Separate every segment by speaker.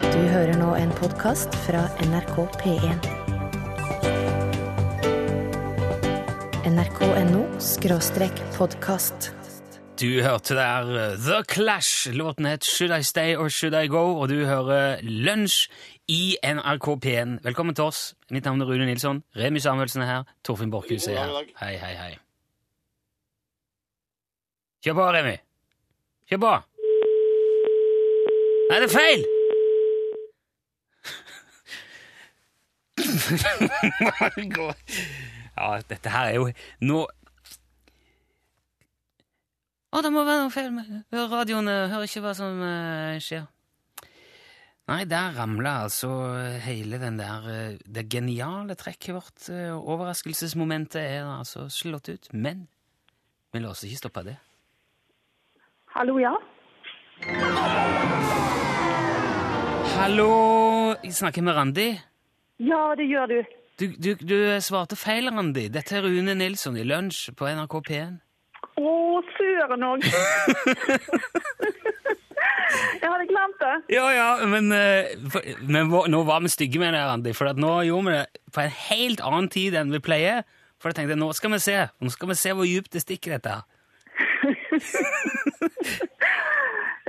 Speaker 1: Du hører nå en podkast fra NRK P1. NRK.no skråstrek podkast.
Speaker 2: Du hørte der eh, The Clash. Låten het Should I Stay or Should I Go? Og du hører Lunsj i NRK P1. Velkommen til oss. Mitt navn er Rune Nilsson. Remi Samuelsen er her. Torfinn Borchhus er her. Hei, hei, hei. Kjør på, Remi. Kjør på. Nei, det er feil! ja, dette her er jo Nå å, det må være noe feil med radioen. eh, Hører ikke hva som eh, skjer. Nei, der ramla altså hele den der eh, Det geniale trekket vårt, eh, overraskelsesmomentet, er altså slått ut. Men vi lar oss ikke stoppe av det.
Speaker 3: Hallo, ja.
Speaker 2: Hallo! Jeg snakker med Randi.
Speaker 3: Ja, det gjør du.
Speaker 2: Du, du, du svarte feil, Randi. Dette er Rune Nilsson i Lunsj på NRK P1.
Speaker 3: Å, søren òg! jeg hadde glemt det.
Speaker 2: Ja, ja, men, eh, for, men vå- nå var vi stygge med det, Randi, for at nå gjorde vi det på en helt annen tid enn vi pleier. For jeg tenkte, nå skal vi se, nå skal vi se hvor djupt det stikker dette her.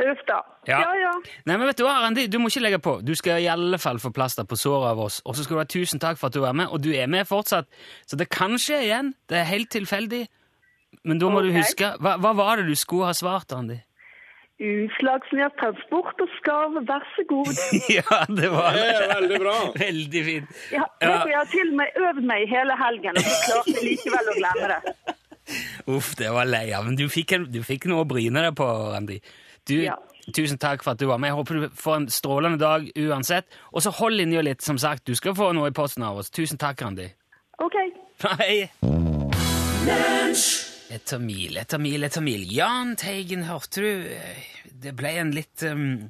Speaker 3: Uff da.
Speaker 2: Ja.
Speaker 3: ja. ja.
Speaker 2: Nei, men vet du hva, Randi, du må ikke legge på. Du skal i alle fall få plaster på såret av oss, og så skal du ha tusen takk for at du var med, og du er med fortsatt. Så det kan skje igjen, det er helt tilfeldig. Men da må du
Speaker 3: Ok.
Speaker 2: huske, hva, hva var det du skulle ha svart, Randi?
Speaker 3: Utslagsnes transport og skarv, vær så god.
Speaker 2: ja, det var
Speaker 4: Det er
Speaker 2: det.
Speaker 4: veldig bra.
Speaker 2: Veldig fint.
Speaker 3: Jeg, har- vet du, jeg har til og med øvd meg hele helgen, og så klarte jeg likevel å glemme det.
Speaker 2: Uff, det var lei av. Men du fikk, en- du fikk noe å bryne deg på, Randi. Du,
Speaker 3: Ja.
Speaker 2: Tusen takk for at du var med. Jeg håper du får en strålende dag uansett. Og så hold linja litt, som sagt. Du skal få noe i posten av oss. Tusen takk, Randi.
Speaker 3: OK.
Speaker 2: Hei! Etter mil, etter mil, etter mil. Jahn Teigen, hørte du? Det ble en litt um,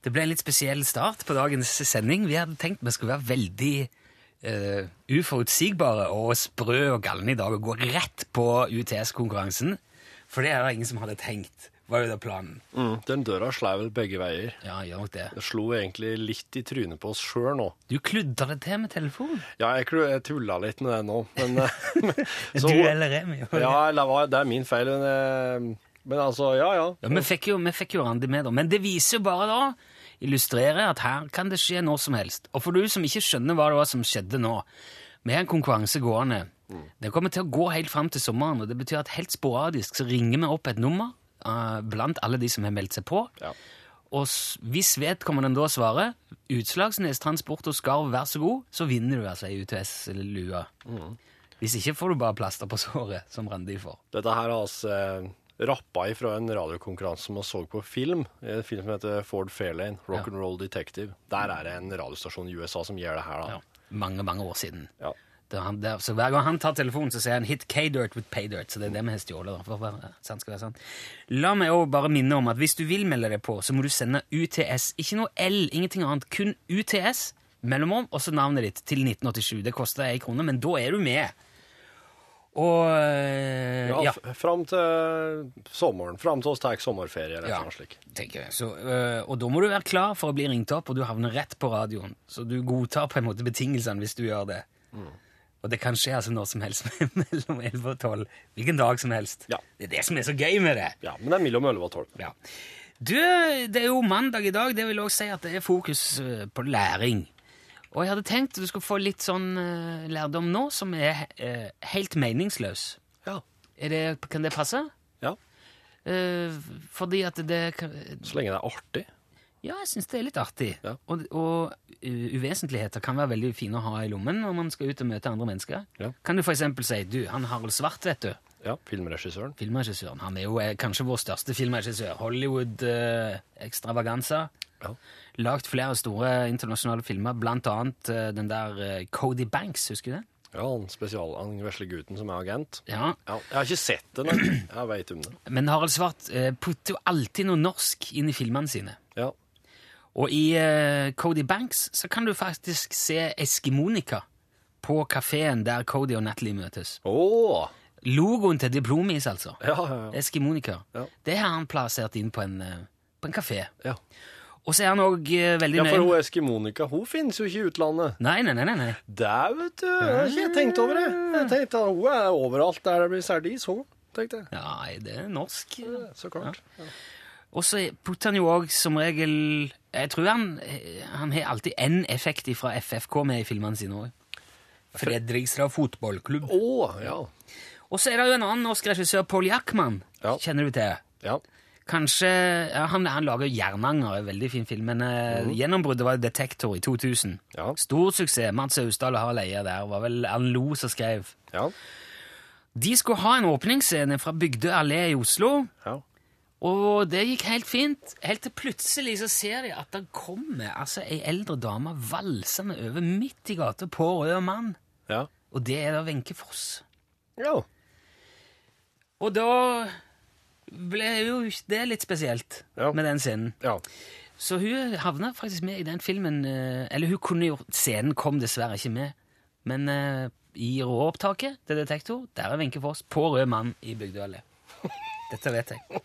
Speaker 2: Det ble en litt spesiell start på dagens sending. Vi hadde tenkt vi skulle være veldig eh, uforutsigbare og sprø og galne i dag og gå rett på UTS-konkurransen. For det er det ingen som hadde tenkt, var jo det planen.
Speaker 4: Mm, den døra slei vel begge veier.
Speaker 2: Ja, gjør nok det.
Speaker 4: Det slo egentlig litt i trynet på oss sjøl nå.
Speaker 2: Du kludder det til med telefonen.
Speaker 4: Ja, jeg, klu- jeg tulla litt med det nå, men eh, så-
Speaker 2: du eller Remi.
Speaker 4: Ja, eller hva, det er min feil. Men, eh, men altså, ja ja.
Speaker 2: Ja, vi fikk jo, vi fikk jo Randi med, da. Men det viser jo bare da, illustrerer at her kan det skje når som helst. Og for du som ikke skjønner hva det var som skjedde nå, vi har en konkurranse gående. Den kommer til å gå helt fram til sommeren, og det betyr at helt sporadisk så ringer vi opp et nummer eh, blant alle de som har meldt seg på.
Speaker 4: Ja.
Speaker 2: Og s- hvis vedkommende da svarer 'Utslagsnes transport og skarv, vær så god', så vinner du altså ei UTS-lue. Hvis ikke får du bare plaster på såret, som Randi får.
Speaker 4: Dette her har altså eh, rappa ifra en radiokonkurranse som vi så på film. En film som heter Ford Fairlane, Rock and Roll Detective. Der er det en radiostasjon i USA som gjør det her, da.
Speaker 2: Ja. Mange, mange år siden.
Speaker 4: Ja.
Speaker 2: Det er han der, så Hver gang han tar telefonen, så sier han 'hit K-dirt with paydirt'. Så det er det vi har stjålet. da, for å være- sant skal være sant. La meg også bare minne om at hvis du vil melde deg på, så må du sende UTS. Ikke noe L, ingenting annet. Kun UTS mellomom, og så navnet ditt til 1987. Det koster ei krone, men da er du med. Og øh,
Speaker 4: Ja,
Speaker 2: ja.
Speaker 4: f- Fram til sommeren. Fram til oss tar sommerferie eller
Speaker 2: Ja.
Speaker 4: noe slikt.
Speaker 2: tenker jeg. Så, øh, og da må du være klar for å bli ringt opp, og du havner rett på radioen. Så du godtar på en måte betingelsene hvis du gjør det. Og det kan skje altså når som helst mellom 11 og 12. Hvilken dag som helst.
Speaker 4: Ja.
Speaker 2: Det er det som er så gøy med det.
Speaker 4: Ja, men det er mellom 11 og 12.
Speaker 2: Ja. Du, det er jo mandag i dag. Det vil også si at det er fokus øh, på læring. Og jeg hadde tenkt at du skulle få litt sånn øh, lærdom nå som er øh, helt meningsløs.
Speaker 4: Ja.
Speaker 2: Er det, kan det passe?
Speaker 4: ja.
Speaker 2: Eh, fordi at det kan-
Speaker 4: Så lenge det er artig.
Speaker 2: Ja, jeg syns det er litt artig.
Speaker 4: Ja.
Speaker 2: Og, og u- uvesentligheter kan være veldig fine å ha i lommen når man skal ut og møte andre mennesker.
Speaker 4: Ja.
Speaker 2: Kan du f.eks. si du, han Harald Svart, vet du,
Speaker 4: Ja, filmregissøren.
Speaker 2: filmregissøren, han er jo eh, kanskje vår største filmregissør. Hollywood eh, Extravaganza.
Speaker 4: Ja.
Speaker 2: Lagt flere store internasjonale filmer, blant annet eh, den der eh, Cody Banks, husker du den?
Speaker 4: Ja, han spesial, han vesle gutten som er agent.
Speaker 2: Ja.
Speaker 4: Ja, jeg har ikke sett det, nei. Jeg veit om det.
Speaker 2: Men Harald Svart eh, putter jo alltid noe norsk inn i filmene sine.
Speaker 4: Ja.
Speaker 2: Og i eh, Cody Banks så kan du faktisk se Eskimonika på kafeen der Cody og Natalie møtes.
Speaker 4: Å!
Speaker 2: Logoen til Diplomis, altså.
Speaker 4: Ja, ja, ja.
Speaker 2: Eskimonika.
Speaker 4: Ja.
Speaker 2: Det har han plassert inn på en, eh, på en kafé.
Speaker 4: ja.
Speaker 2: Og så er han òg veldig
Speaker 4: Ja,
Speaker 2: nøye
Speaker 4: for hun Eskimonika, hun finnes jo ikke i utlandet.
Speaker 2: Nei, nei, nei. nei, nei.
Speaker 4: Der, vet du. Jeg har ikke tenkt over det. Jeg tenkte at Hun er overalt der det blir sardis, hun. tenkte jeg.
Speaker 2: Nei, det er norsk.
Speaker 4: Så klart.
Speaker 2: Og så putter han jo òg som regel Jeg tror han eh, Han har alltid én effekt fra FFK med i filmene sine òg. Fredrikstad fotballklubb.
Speaker 4: Å, ja.
Speaker 2: Og så er det jo en annen norsk regissør, Pål Jackman.
Speaker 4: Ja.
Speaker 2: Kjenner du til?
Speaker 4: ja.
Speaker 2: Kanskje ja, han, han lager jo 'Jernanger', en veldig fin film, men eh, gjennombruddet var jo 'Detektor' i 2000.
Speaker 4: Mhm. Ja.
Speaker 2: Stor suksess. Mats Austdal og Harald Eia der. Var vel Erlend Lo som skrev.
Speaker 4: Ja.
Speaker 2: De skulle ha en åpningsscene fra Bygdøy allé i Oslo.
Speaker 4: ja.
Speaker 2: Og det gikk helt fint, helt til plutselig så ser de at det kommer altså, ei eldre dame valsende over midt i gata på rød mann.
Speaker 4: Ja.
Speaker 2: Og det er da Wenche Foss.
Speaker 4: ja.
Speaker 2: Og da ble jo det litt spesielt
Speaker 4: Ja.
Speaker 2: med den scenen.
Speaker 4: ja.
Speaker 2: Så hun havna faktisk med i den filmen eh, Eller hun kunne gjort Scenen kom dessverre ikke med, men eh, i råopptaket til Detektor, der er Wenche Foss på rød mann i Bygdøy allé. Dette vet jeg.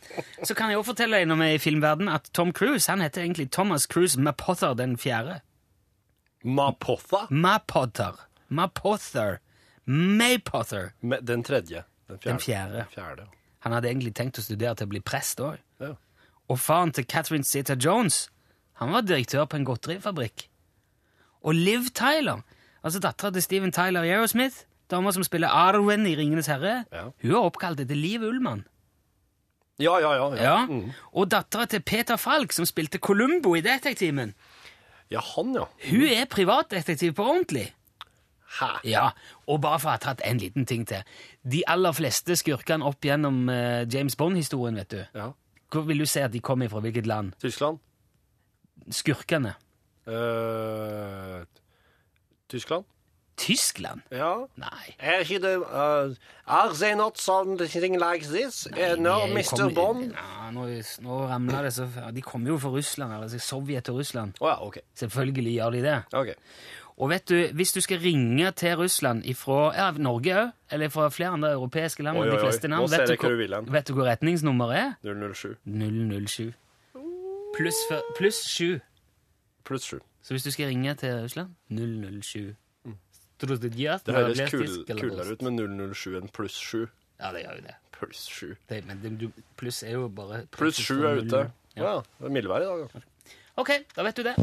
Speaker 2: Så kan jeg også fortelle deg når vi er i filmverden at Tom Cruise han heter egentlig Thomas Cruise Mapother den fjerde.
Speaker 4: Mapotha.
Speaker 2: Mapother. Mapother. Maypother.
Speaker 4: Med den tredje. Den fjerde.
Speaker 2: Den fjerde.
Speaker 4: fjerde.
Speaker 2: Han hadde egentlig tenkt å studere til å bli prest òg.
Speaker 4: ja. Ja.
Speaker 2: Og faren til Catherine Zeta-Jones han var direktør på en godterifabrikk. Og Liv Tyler, altså dattera til Steven Tyler i Aerosmith, dama som spiller Arwen i Ringenes herre,
Speaker 4: Ja.
Speaker 2: hun er oppkalt etter Liv Ullmann.
Speaker 4: Ja, ja, ja. Mm. ja.
Speaker 2: Ja. Og dattera til Peter Falk, som spilte Columbo i Detektimen,
Speaker 4: Ja, han, ja.
Speaker 2: hun er privatdetektiv på ordentlig.
Speaker 4: Hæ?
Speaker 2: Ja, Og bare for å ha tatt en liten ting til. De aller fleste skurkene opp gjennom eh, James Bond-historien, vet du.
Speaker 4: Ja.
Speaker 2: Hvor vil du si at de kommer fra? Hvilket land?
Speaker 4: Tyskland.
Speaker 2: Skurkene.
Speaker 4: Eh, Tyskland?
Speaker 2: Tyskland?
Speaker 4: Ja.
Speaker 2: Nei.
Speaker 4: Er ikke det uh, Are they not something like this? Uh, no,
Speaker 2: Nei, de
Speaker 4: Mr.
Speaker 2: kom-
Speaker 4: Bond?
Speaker 2: Ja, nå, nå ramler det så ja, De kommer jo fra Russland, altså Sovjet og Russland.
Speaker 4: Å ja, OK.
Speaker 2: Selvfølgelig gjør de det.
Speaker 4: ok.
Speaker 2: Og vet du, hvis du skal ringe til Russland fra ja, Norge òg, eller fra flere andre europeiske land,
Speaker 4: Oi,
Speaker 2: men de
Speaker 4: oi,
Speaker 2: fleste
Speaker 4: oi.
Speaker 2: navn,
Speaker 4: Nå ser
Speaker 2: vet,
Speaker 4: jeg
Speaker 2: du
Speaker 4: hva du
Speaker 2: hvor-
Speaker 4: vil hen.
Speaker 2: vet du hvor retningsnummeret er?
Speaker 4: 007
Speaker 2: 007. Pluss fyr- Pluss 7.
Speaker 4: pluss 7.
Speaker 2: Så hvis du skal ringe til Russland 007. Det
Speaker 4: Det høres kul, kulere ut med 007 enn pluss 7.
Speaker 2: Ja, det gjør jo det.
Speaker 4: Pluss 7.
Speaker 2: det men det, du, pluss er jo bare
Speaker 4: Pluss 7 er sånn ute.
Speaker 2: Ja.
Speaker 4: Ja, det er mildvær i dag. da.
Speaker 2: Ok, da vet du det.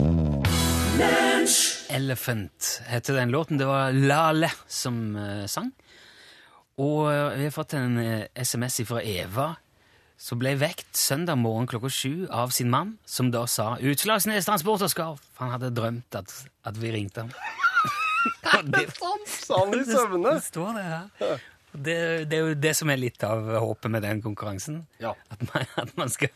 Speaker 2: Elephant heter den låten. Det var Lale som eh, sang. Og eh, vi har fått en eh, SMS fra Eva, som ble vekt søndag morgen klokka sju av sin mann, som da sa 'Utslagsnes transport og skarv'. Han hadde drømt at, at vi ringte ham. Og det,
Speaker 4: Sa han i søvne?
Speaker 2: det står det her. Og Det, det er jo det som er litt av håpet med den konkurransen.
Speaker 4: Ja.
Speaker 2: At man, at man skal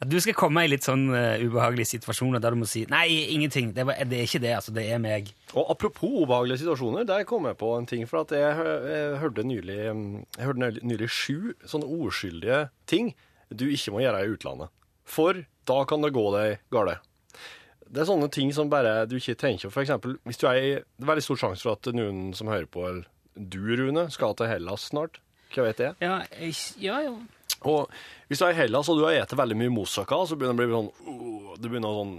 Speaker 2: At du skal komme i litt sånn eh, ubehagelige situasjoner der du må si Nei, ingenting. Det, var, det er ikke det, altså. Det er meg.
Speaker 4: Og apropos ubehagelige situasjoner, der kom jeg på en ting. For at jeg, hø- jeg hørte nylig Jeg hørte nylig- nylig sju sånne ordskyldige ting du ikke må gjøre i utlandet. For da kan det gå deg gale. Det er sånne ting som bare du ikke tenker på. For eksempel, hvis du er i Det er veldig stor sjanse for at noen som hører på, eller du, Rune, skal til Hellas snart. Hva vet jeg?
Speaker 2: Ja, jeg- ja jo.
Speaker 4: Og hvis du er i Hellas og du har spist veldig mye moussaka, så begynner det å bli sånn «Åh», det begynner sånn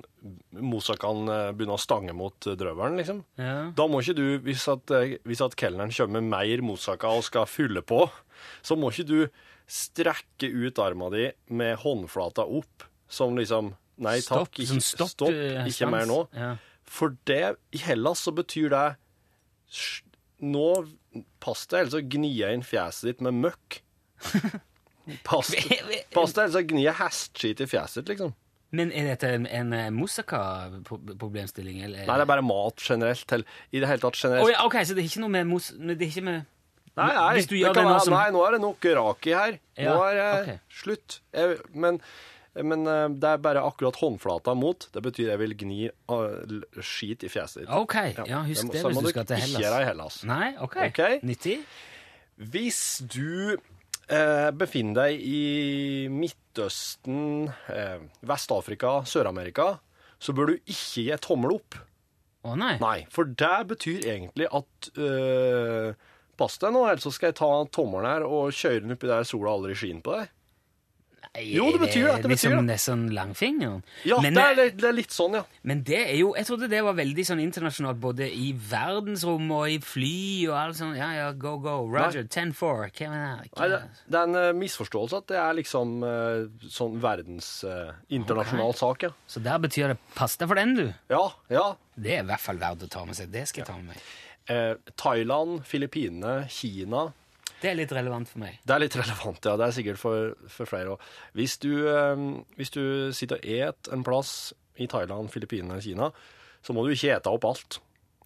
Speaker 4: Moussakaen eh, begynner å stange mot eh, drøvelen, liksom.
Speaker 2: Ja.
Speaker 4: Da må ikke du, hvis at, eh, hvis at kelneren kommer med mer moussaka og skal fylle på, så må ikke du strekke ut armen din med håndflata opp, som liksom Nei
Speaker 2: Stopp,
Speaker 4: takk, ikke,
Speaker 2: sånn stopp,
Speaker 4: stopp,
Speaker 2: eh,
Speaker 4: ikke
Speaker 2: stans.
Speaker 4: mer nå.
Speaker 2: Ja.
Speaker 4: For det, i Hellas så betyr det «Sj, Nå pass deg, ellers så gnir jeg inn fjeset ditt med møkk. Pass, pass deg, ellers så gnir jeg hestskitt altså i fjeset ditt, liksom.
Speaker 2: Men er dette en, en eh, moussaka-problemstilling, eller?
Speaker 4: Nei, det er bare mat generelt. Til, I det hele tatt generelt.
Speaker 2: Å ja, ok, så det er ikke noe med mousse... Det er ikke med
Speaker 4: Nei, nei,
Speaker 2: Hvis du
Speaker 4: det
Speaker 2: gjør
Speaker 4: kan
Speaker 2: det nå
Speaker 4: være-
Speaker 2: som-
Speaker 4: nei, nå er det nok raki her. nå
Speaker 2: Ja,
Speaker 4: er det
Speaker 2: ok.
Speaker 4: slutt. Jeg, men, men eh, det er bare akkurat håndflata mot. Det betyr jeg vil gni ah, l- skit i fjeset ditt.
Speaker 2: Ok, ja,
Speaker 4: Det
Speaker 2: husk
Speaker 4: må-
Speaker 2: det
Speaker 4: så
Speaker 2: hvis
Speaker 4: må
Speaker 2: du skal til
Speaker 4: Ikke gjøre det i
Speaker 2: Hellas.
Speaker 4: Hellas.
Speaker 2: Nei, ok.
Speaker 4: Ok.
Speaker 2: Nyttig?
Speaker 4: Hvis du eh, befinner deg i Midtøsten, eh, Vest-Afrika, Sør-Amerika, så bør du ikke gi tommel opp.
Speaker 2: Å nei.
Speaker 4: Nei, for det betyr egentlig at eh, Pass deg nå, ellers så skal jeg ta tommelen her og kjøre den oppi der sola aldri skinner på deg. Jo, det betyr det, det betyr
Speaker 2: liksom
Speaker 4: det.
Speaker 2: nesten langfingeren.
Speaker 4: Ja,
Speaker 2: men,
Speaker 4: det er, litt- det er litt sånn, ja.
Speaker 2: men det er jo Jeg trodde det var veldig sånn internasjonalt, både i verdensrom og i fly og alt sånn. Ja, ja, go, go. Roger, 10-4. Hva mener
Speaker 4: Nei, det,
Speaker 2: jeg?
Speaker 4: det er en eh, misforståelse at det er liksom eh, sånn verdens eh, internasjonal sak, ja.
Speaker 2: Så der betyr det 'pass deg for den, du'.
Speaker 4: Ja, ja.
Speaker 2: Det er i hvert fall verdt å ta med seg. Det skal jeg ta med meg.
Speaker 4: Eh, Thailand, Filippinene, Kina.
Speaker 2: Det er litt relevant for meg.
Speaker 4: Det er litt relevant, ja. Det er sikkert for, for flere òg. Hvis, du, eh, hvis du sitter og et en plass i Thailand, Filippinene eller Kina, så må du ikke ete opp alt.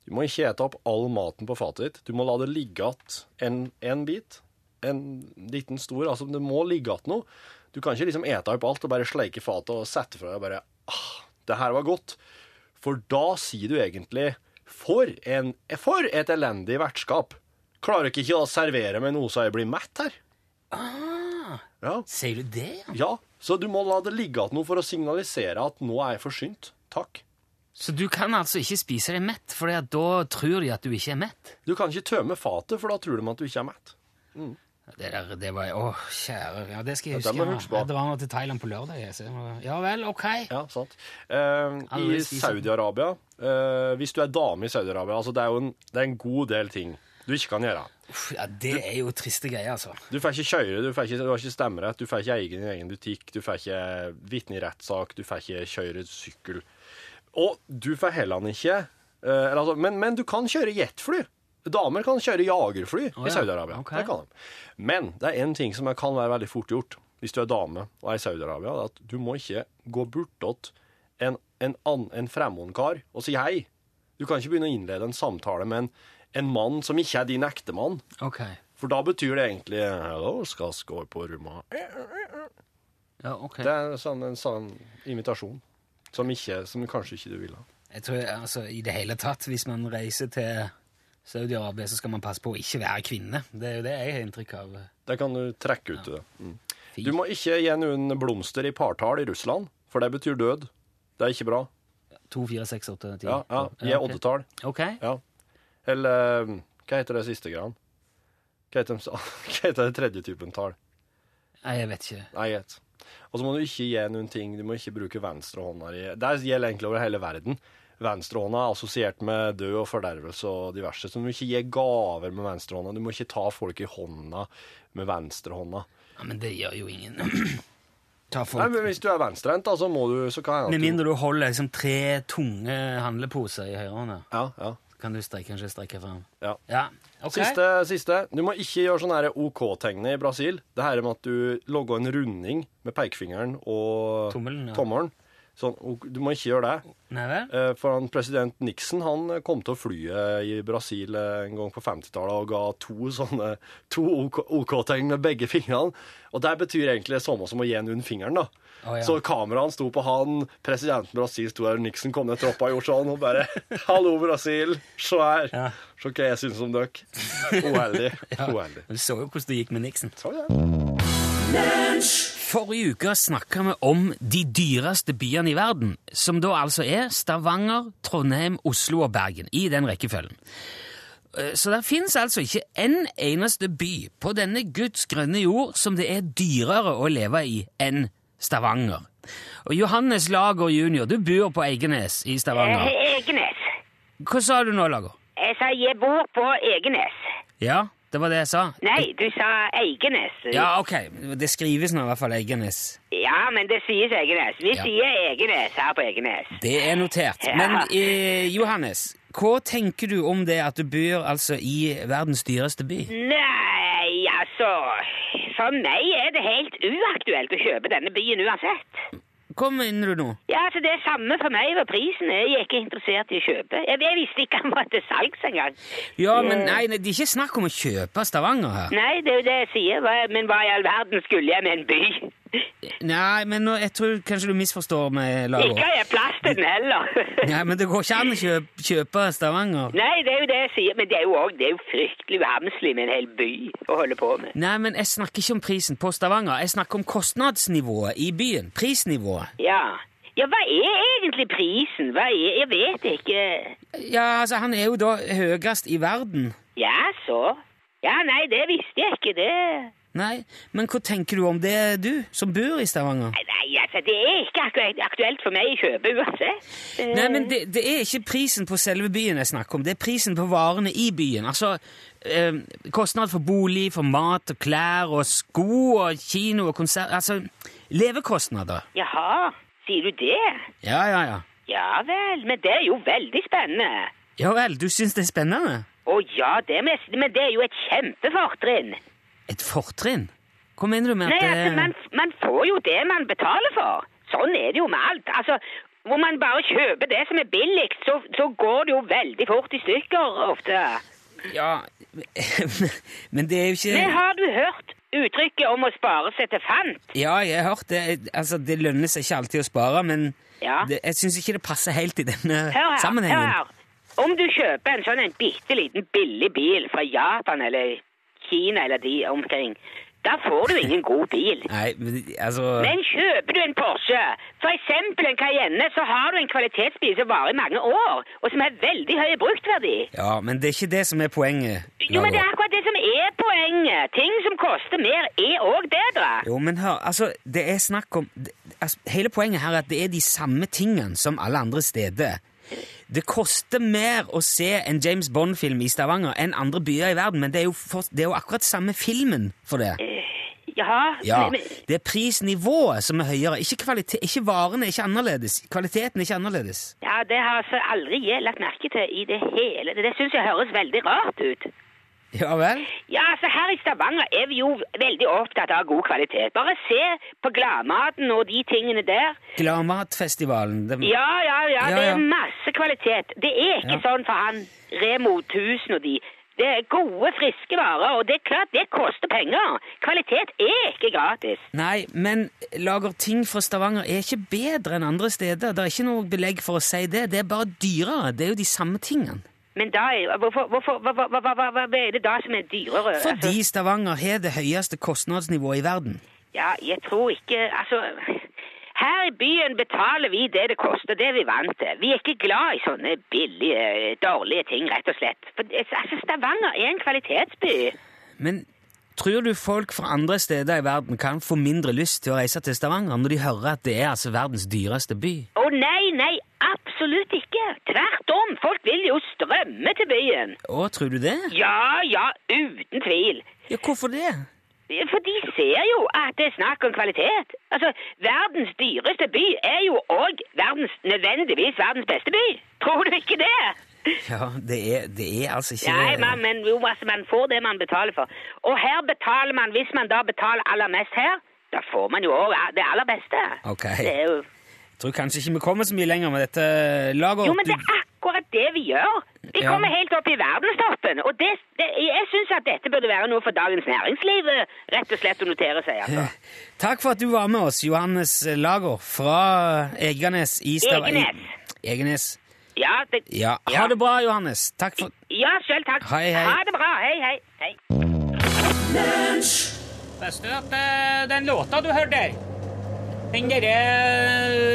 Speaker 4: Du må ikke ete opp all maten på fatet ditt. Du må la det ligge igjen en, en bit. En liten stor. Altså, det må ligge igjen noe. Du kan ikke liksom ete opp alt og bare sleike fatet og sette fra deg og bare ah, Det her var godt. For da sier du egentlig For, en, for et elendig vertskap. Klarer ikke å servere meg noe så jeg blir mett her. Ja.
Speaker 2: Ah, Sier du det, ja?
Speaker 4: ja, så du må la det ligge igjen noe for å signalisere at nå er jeg forsynt. Takk.
Speaker 2: Så du kan altså ikke spise deg mett, for da tror de at du ikke er mett?
Speaker 4: Du kan ikke tømme fatet, for da tror de at du ikke er mett.
Speaker 2: Det der, det var Å, kjære Ja, det skal jeg
Speaker 4: Ja, det
Speaker 2: huske.
Speaker 4: må
Speaker 2: jeg
Speaker 4: jeg huske på.
Speaker 2: Jeg drar nå til Thailand på lørdag. Jeg, så jeg må, ja vel, ok.
Speaker 4: Ja, sant. Eh,
Speaker 2: Alle
Speaker 4: I
Speaker 2: spiser.
Speaker 4: Saudi-Arabia eh, Hvis du er dame i Saudi-Arabia altså det, er jo en, det er en god del ting du ikke kan gjøre.
Speaker 2: Uff, ja, det er jo triste greier, altså.
Speaker 4: Du får ikke kjøre, du, får ikke, du har ikke stemmerett, du får ikke eie din egen butikk, du får ikke vitne i rettssak, du får ikke kjøre sykkel. Og du får heller ikke eh, eller altså, men, men du kan kjøre jetfly. Damer kan kjøre jagerfly
Speaker 2: Å,
Speaker 4: i
Speaker 2: ja.
Speaker 4: Saudi-Arabia.
Speaker 2: Ok.
Speaker 4: Det kan de. Men det er én ting som kan være veldig fort gjort hvis du er dame og er i Saudi-Arabia, det er at du må ikke gå bortåt en, en, ann- en fremmed kar og si hei. Du kan ikke begynne å innlede en samtale med en, en mann som ikke er din ektemann.
Speaker 2: Ok.
Speaker 4: For da betyr det egentlig Hello, skal skår på rumma.
Speaker 2: Ja, ok.
Speaker 4: Det er en sånn, en sånn invitasjon som, ikke, som kanskje ikke du vil ha.
Speaker 2: Jeg tror, altså, I det hele tatt, hvis man reiser til Saudi-Arabia, så skal man passe på å ikke være kvinne. Det er jo det jeg har inntrykk av.
Speaker 4: Der kan du trekke ut det. Mm.
Speaker 2: Fint.
Speaker 4: Du må ikke gi noen blomster i partall i Russland, for det betyr død. Det er ikke bra.
Speaker 2: To, fire, seks, åtte, ti.
Speaker 4: Ja, ja. Gi
Speaker 2: ok.
Speaker 4: oddetall.
Speaker 2: Ok.
Speaker 4: Ja. Eller eh, hva heter det siste grann? Hva heter, de, hva heter det tredje typen tall?
Speaker 2: Nei, jeg vet ikke.
Speaker 4: Nei, gjett. Og så må du ikke gi noen ting. Du må ikke bruke venstrehånda di. Det gjelder egentlig over hele verden. Venstrehånda er assosiert med død og fordervelse og diverse. Så du må ikke gi gaver med venstrehånda. Du må ikke ta folk i hånda med venstrehånda.
Speaker 2: Ja, men det gjør jo ingen. Ta
Speaker 4: Nei,
Speaker 2: folk.
Speaker 4: men hvis du er venstrehendt, da, så må du så kan jeg
Speaker 2: Med mindre du holder liksom tre tunge handleposer i høyrehånda,
Speaker 4: Ja, ja.
Speaker 2: kan du strekke, kanskje strekke frem.
Speaker 4: ja.
Speaker 2: Ja, ok.
Speaker 4: Siste, siste. Du må ikke gjøre sånn her OK-tegnet i Brasil. Det her med at du logger en runding med pekefingeren og
Speaker 2: Tommelen, ja.
Speaker 4: tommelen. Sånn, ok, du må ikke gjøre det.
Speaker 2: Nei vel?
Speaker 4: Eh, For han, president Nixon han eh, kom til å flye i Brasil eh, en gang på 50-tallet og ga to sånne to OK- OK-tegn med begge fingrene. Og det betyr egentlig det samme som å gi en under fingeren. da.
Speaker 2: Å, ja.
Speaker 4: Så kameraene sto på han, presidenten i Brasil sto der, og Nixon kom ned trappa og gjorde sånn og bare 'Hallo, Brasil, se her.
Speaker 2: Ja.
Speaker 4: Se hva jeg syns om dere.' Eh, Uheldig. Uheldig.
Speaker 2: Du så jo hvordan det gikk med Nixon.
Speaker 4: Så, ja.
Speaker 2: Forrige uke snakka vi om de dyreste byene i verden, som da altså er Stavanger, Trondheim, Oslo og Bergen, i den rekkefølgen. Eh, Så det fins altså ikke en eneste by på denne Guds grønne jord som det er dyrere å leve i enn Stavanger. Og Johannes Lager jr., du bor på Egenes i Stavanger.
Speaker 5: Eh, Egenes.
Speaker 2: Hva sa du nå, Lager?
Speaker 5: Jeg sa jeg bor på Egenes.
Speaker 2: Ja, det var det jeg sa.
Speaker 5: Nei, du sa Eigenes.
Speaker 2: Ja, ok. Det skrives nå i hvert fall Egenes.
Speaker 5: Ja, men det sies Egenes. Vi
Speaker 2: Ja.
Speaker 5: sier Egenes her på Egenes.
Speaker 2: Det er notert.
Speaker 5: Ja.
Speaker 2: Men eh, Johannes, hva tenker du om det at du bor altså i verdens dyreste by?
Speaker 5: Nei, altså For meg er det helt uaktuelt å kjøpe denne byen uansett.
Speaker 2: Hva mener du nå?
Speaker 5: Ja, altså Det er samme for meg hva prisen er. Jeg er ikke interessert i å kjøpe. Jeg, jeg visste ikke han var til salgs engang.
Speaker 2: Ja, men nei, nei, det er ikke snakk om å kjøpe Stavanger her.
Speaker 5: Nei, det er jo det jeg sier. Hva- Men hva i all verden skulle jeg med en by?
Speaker 2: Nei, men nå, jeg tror kanskje du misforstår meg,
Speaker 5: Ikke
Speaker 2: Lago.
Speaker 5: har jeg plass til den heller.
Speaker 2: Nei, men det går ikke an å kjøpe, kjøpe Stavanger.
Speaker 5: Nei, det er jo det jeg sier, men det er jo, også, det er jo fryktelig uhamslig med en hel by å holde på med.
Speaker 2: Nei, men jeg snakker ikke om prisen på Stavanger. Jeg snakker om kostnadsnivået i byen. Prisnivået.
Speaker 5: Ja. ja, hva er egentlig prisen? Hva er, jeg vet ikke.
Speaker 2: Ja, altså, han er jo da høyest i verden.
Speaker 5: Ja, så. Ja, nei, det visste jeg ikke, det.
Speaker 2: Nei, men hva tenker du om det, du, som bor i Stavanger?
Speaker 5: Nei, altså, det er ikke akkurat aktuelt for meg å kjøpe uansett. Eh,
Speaker 2: Nei, men det, det er ikke prisen på selve byen jeg snakker om, det er prisen på varene i byen. Altså, eh, kostnad for bolig, for mat og klær og sko og kino og konsert... Altså, levekostnader.
Speaker 5: Jaha, sier du det?
Speaker 2: Ja, ja, ja.
Speaker 5: Ja vel, men det er jo veldig spennende.
Speaker 2: Ja vel, du syns det er spennende?
Speaker 5: Å ja, det må jeg si, men det er jo et kjempefortrinn.
Speaker 2: Et fortrinn? Hva mener du med
Speaker 5: Nei,
Speaker 2: at
Speaker 5: altså, man, man får jo det man betaler for. Sånn er det jo med alt. Altså, hvor man bare kjøper det som er billigst, så, så går det jo veldig fort i stykker ofte.
Speaker 2: Ja, men det er jo ikke
Speaker 5: Men har du hørt uttrykket om å spare seg til fant?
Speaker 2: Ja, jeg har hørt det. Altså, det lønner seg ikke alltid å spare, men
Speaker 5: Ja.
Speaker 2: det, jeg syns ikke det passer helt i denne
Speaker 5: Hør her,
Speaker 2: sammenhengen.
Speaker 5: hør her. Om du kjøper en sånn en bitte liten billig bil fra Japan eller Kina eller de omkring, da får du ingen god bil.
Speaker 2: Nei, men altså
Speaker 5: Men kjøper du en Porsche, for eksempel en Cayenne, så har du en kvalitetsbil som varer i mange år, og som har veldig høy bruktverdi.
Speaker 2: Ja, men det er ikke det som er poenget.
Speaker 5: Jo, men det er
Speaker 2: Laura.
Speaker 5: akkurat det som er poenget. Ting som koster mer, er òg bedre.
Speaker 2: Jo, men hør, altså, det er snakk om det, altså, Hele poenget her er at det er de samme tingene som alle andre steder. Det koster mer å se en James Bond-film i Stavanger enn andre byer i verden, men det er jo, for, det er jo akkurat samme filmen for det.
Speaker 5: Jaha.
Speaker 2: Ja,
Speaker 5: Eh, men-
Speaker 2: det er prisnivået som er høyere, ikke, kvalite- ikke varene er ikke annerledes. Kvaliteten er ikke annerledes.
Speaker 5: ja, det har altså aldri jeg lagt merke til i det hele. Det syns jeg høres veldig rart ut.
Speaker 2: Ja vel?
Speaker 5: Ja, altså Her i Stavanger er vi jo veldig opptatt av god kvalitet. Bare se på gladmaten og de tingene der.
Speaker 2: Gladmatfestivalen. det-
Speaker 5: Ja, ja, ja,
Speaker 2: Ja,
Speaker 5: det
Speaker 2: ja.
Speaker 5: er masse kvalitet. Det er ikke
Speaker 2: Ja.
Speaker 5: sånn for han Remo 1000 og de. Det er gode, friske varer, og det er klart det koster penger. Kvalitet er ikke gratis.
Speaker 2: Nei, men lager ting fra Stavanger er ikke bedre enn andre steder. Det er ikke noe belegg for å si det. Det er bare dyrere. Det er jo de samme tingene.
Speaker 5: Men da er, hvorfor, hvorfor, hva, hva, hva, hva, hva er det da som er dyrere?
Speaker 2: Fordi
Speaker 5: Altså,
Speaker 2: Stavanger har det høyeste kostnadsnivået i verden.
Speaker 5: ja, jeg tror ikke Altså, her i byen betaler vi det det koster, det er vi vant til. Vi er ikke glad i sånne billige, dårlige ting, rett og slett. For, altså, Stavanger er en kvalitetsby.
Speaker 2: Men tror du folk fra andre steder i verden kan få mindre lyst til å reise til Stavanger når de hører at det er altså verdens dyreste by?
Speaker 5: Å nei, nei, absolutt ikke. Tvert om, folk vil jo strømme til byen.
Speaker 2: Å, tror du det?
Speaker 5: Ja, ja, uten tvil.
Speaker 2: Ja, hvorfor det?
Speaker 5: For de ser jo at det er snakk om kvalitet. Altså, verdens dyreste by er jo òg verdens, nødvendigvis verdens beste by. Tror du ikke det?
Speaker 2: Ja, det er, det er altså ikke
Speaker 5: Nei, man, men jo, altså, man får det man betaler for. Og her betaler man, hvis man da betaler aller mest her, da får man jo òg det aller beste.
Speaker 2: Ok.
Speaker 5: Det er jo...
Speaker 2: Jeg tror kanskje ikke vi kommer så mye lenger med dette laget.
Speaker 5: Jo, men det er akkurat det vi gjør. Vi
Speaker 2: Ja.
Speaker 5: kommer helt opp i verdenstoppen. Og det, det, jeg syns at dette burde være noe for Dagens Næringsliv, eh, rett og slett, å notere seg. Altså.
Speaker 2: Takk for at du var med oss, Johannes Lager fra Egernes i Stavanger.
Speaker 5: Egenes.
Speaker 2: Egenes.
Speaker 5: Ja, det,
Speaker 2: Ja. Ha det bra, Johannes. Takk for
Speaker 5: Ja, selv takk.
Speaker 2: Hei, hei.
Speaker 5: Ha det bra. Hei, hei. hei.
Speaker 6: Visste du at eh, den låta du hørte der, den derre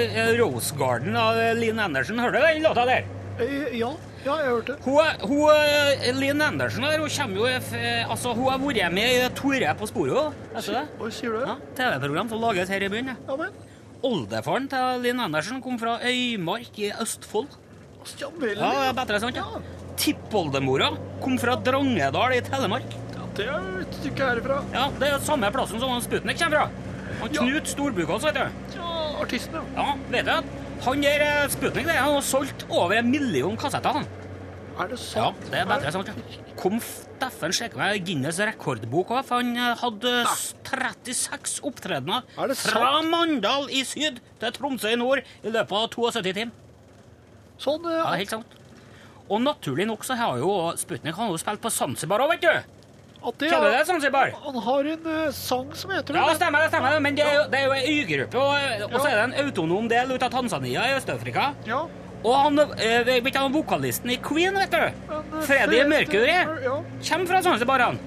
Speaker 6: eh, Rose Garden av eh, Linn Andersen, hørte du den låta der?
Speaker 4: Eh, Ja, ja, jeg hørte det.
Speaker 6: Hun, hun eh, Linn Andersen der, hun kommer jo f- eh, Altså, hun har vært med i Tore på sporet, vet du det?
Speaker 4: Hva sier du?
Speaker 6: Ja, TV-program som lages her i byen. ja.
Speaker 4: Ja, men.
Speaker 6: Oldefaren til Linn Andersen kom fra Øymark i Østfold.
Speaker 4: Ja, vel.
Speaker 6: Ja, det er bedre sant, ja. Tippoldemora kom fra Drangedal i Telemark.
Speaker 4: Ja, det er et stykke herifra.
Speaker 6: Ja, Det er jo samme plassen som han Sputnik kommer fra. Han
Speaker 4: Ja.
Speaker 6: Knut Storbukkås, vet du.
Speaker 4: Ja, artisten, ja.
Speaker 6: Ja, vet du at han der eh, Sputnik der, han har solgt over en million kassetter. han.
Speaker 4: Er det
Speaker 6: Ja,
Speaker 4: sant?
Speaker 6: det er bedre sant, ja. Kom Steffen sjekke meg Guinness rekordbok òg, for han eh, hadde s- 36 opptredener
Speaker 4: Er det
Speaker 6: fra
Speaker 4: sant?
Speaker 6: Mandal i syd til Tromsø i nord i løpet av 72 timer.
Speaker 4: Sånn,
Speaker 6: Ja, det
Speaker 4: ja.
Speaker 6: er helt sant. Og naturlig nok så har jo Sputnik han har jo spilt på Zanzibar òg, vet du.
Speaker 4: At det,
Speaker 6: Kjenner du det, Zanzibar?
Speaker 4: Han har en eh, sang som heter
Speaker 6: Ja,
Speaker 4: det.
Speaker 6: stemmer det, stemmer det. Men det er jo, det er jo ei øygruppe, og, og så er det en autonom del ut av Tanzania i Øst-Afrika.
Speaker 4: Ja,
Speaker 6: Og han, eh, vet du, han vokalisten i Queen, vet du,
Speaker 4: men eh,
Speaker 6: Freddie
Speaker 4: det-
Speaker 6: Mercury,
Speaker 4: det- Ja.
Speaker 6: kommer fra Zanzibar. han.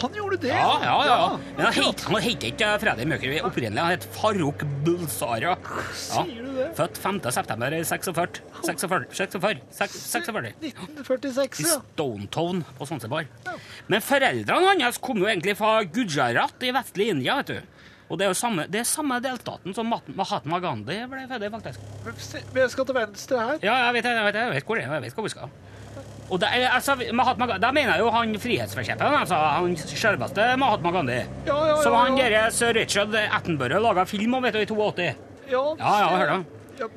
Speaker 7: Han gjorde det?
Speaker 6: Ja, ja, ja. Men han het, han het ikke Freddy Møkeri opprinnelig. Han het Farouk Bulsara. Ja.
Speaker 7: Sier du det?
Speaker 6: Født 5. september 46. 46, 46, 46.
Speaker 7: 1946,
Speaker 6: I
Speaker 7: ja.
Speaker 6: Stonetown på Sonsebar. Men foreldrene hans kom jo egentlig fra Gujarat i vestlig India, vet du. Og det er jo samme, det er samme delstaten som Mahat- Mahatma Gandhi ble født i, faktisk.
Speaker 7: Men se, Vi skal til venstre her.
Speaker 6: Ja, jeg vet, det, jeg vet, det, jeg vet hvor det er, jeg vet hvor vi skal. Og det, er- altså, Mahatma Gandhi, da mener jeg jo han frihetsforkjemperen, altså han selveste Mahatma Gandhi.
Speaker 7: Ja, ja, ja,
Speaker 6: Som han
Speaker 7: ja.
Speaker 6: der sir Richard Attenborough laga film om, vet du, i 82.
Speaker 7: Ja,
Speaker 6: Ja, ja, hør da.
Speaker 7: Ja.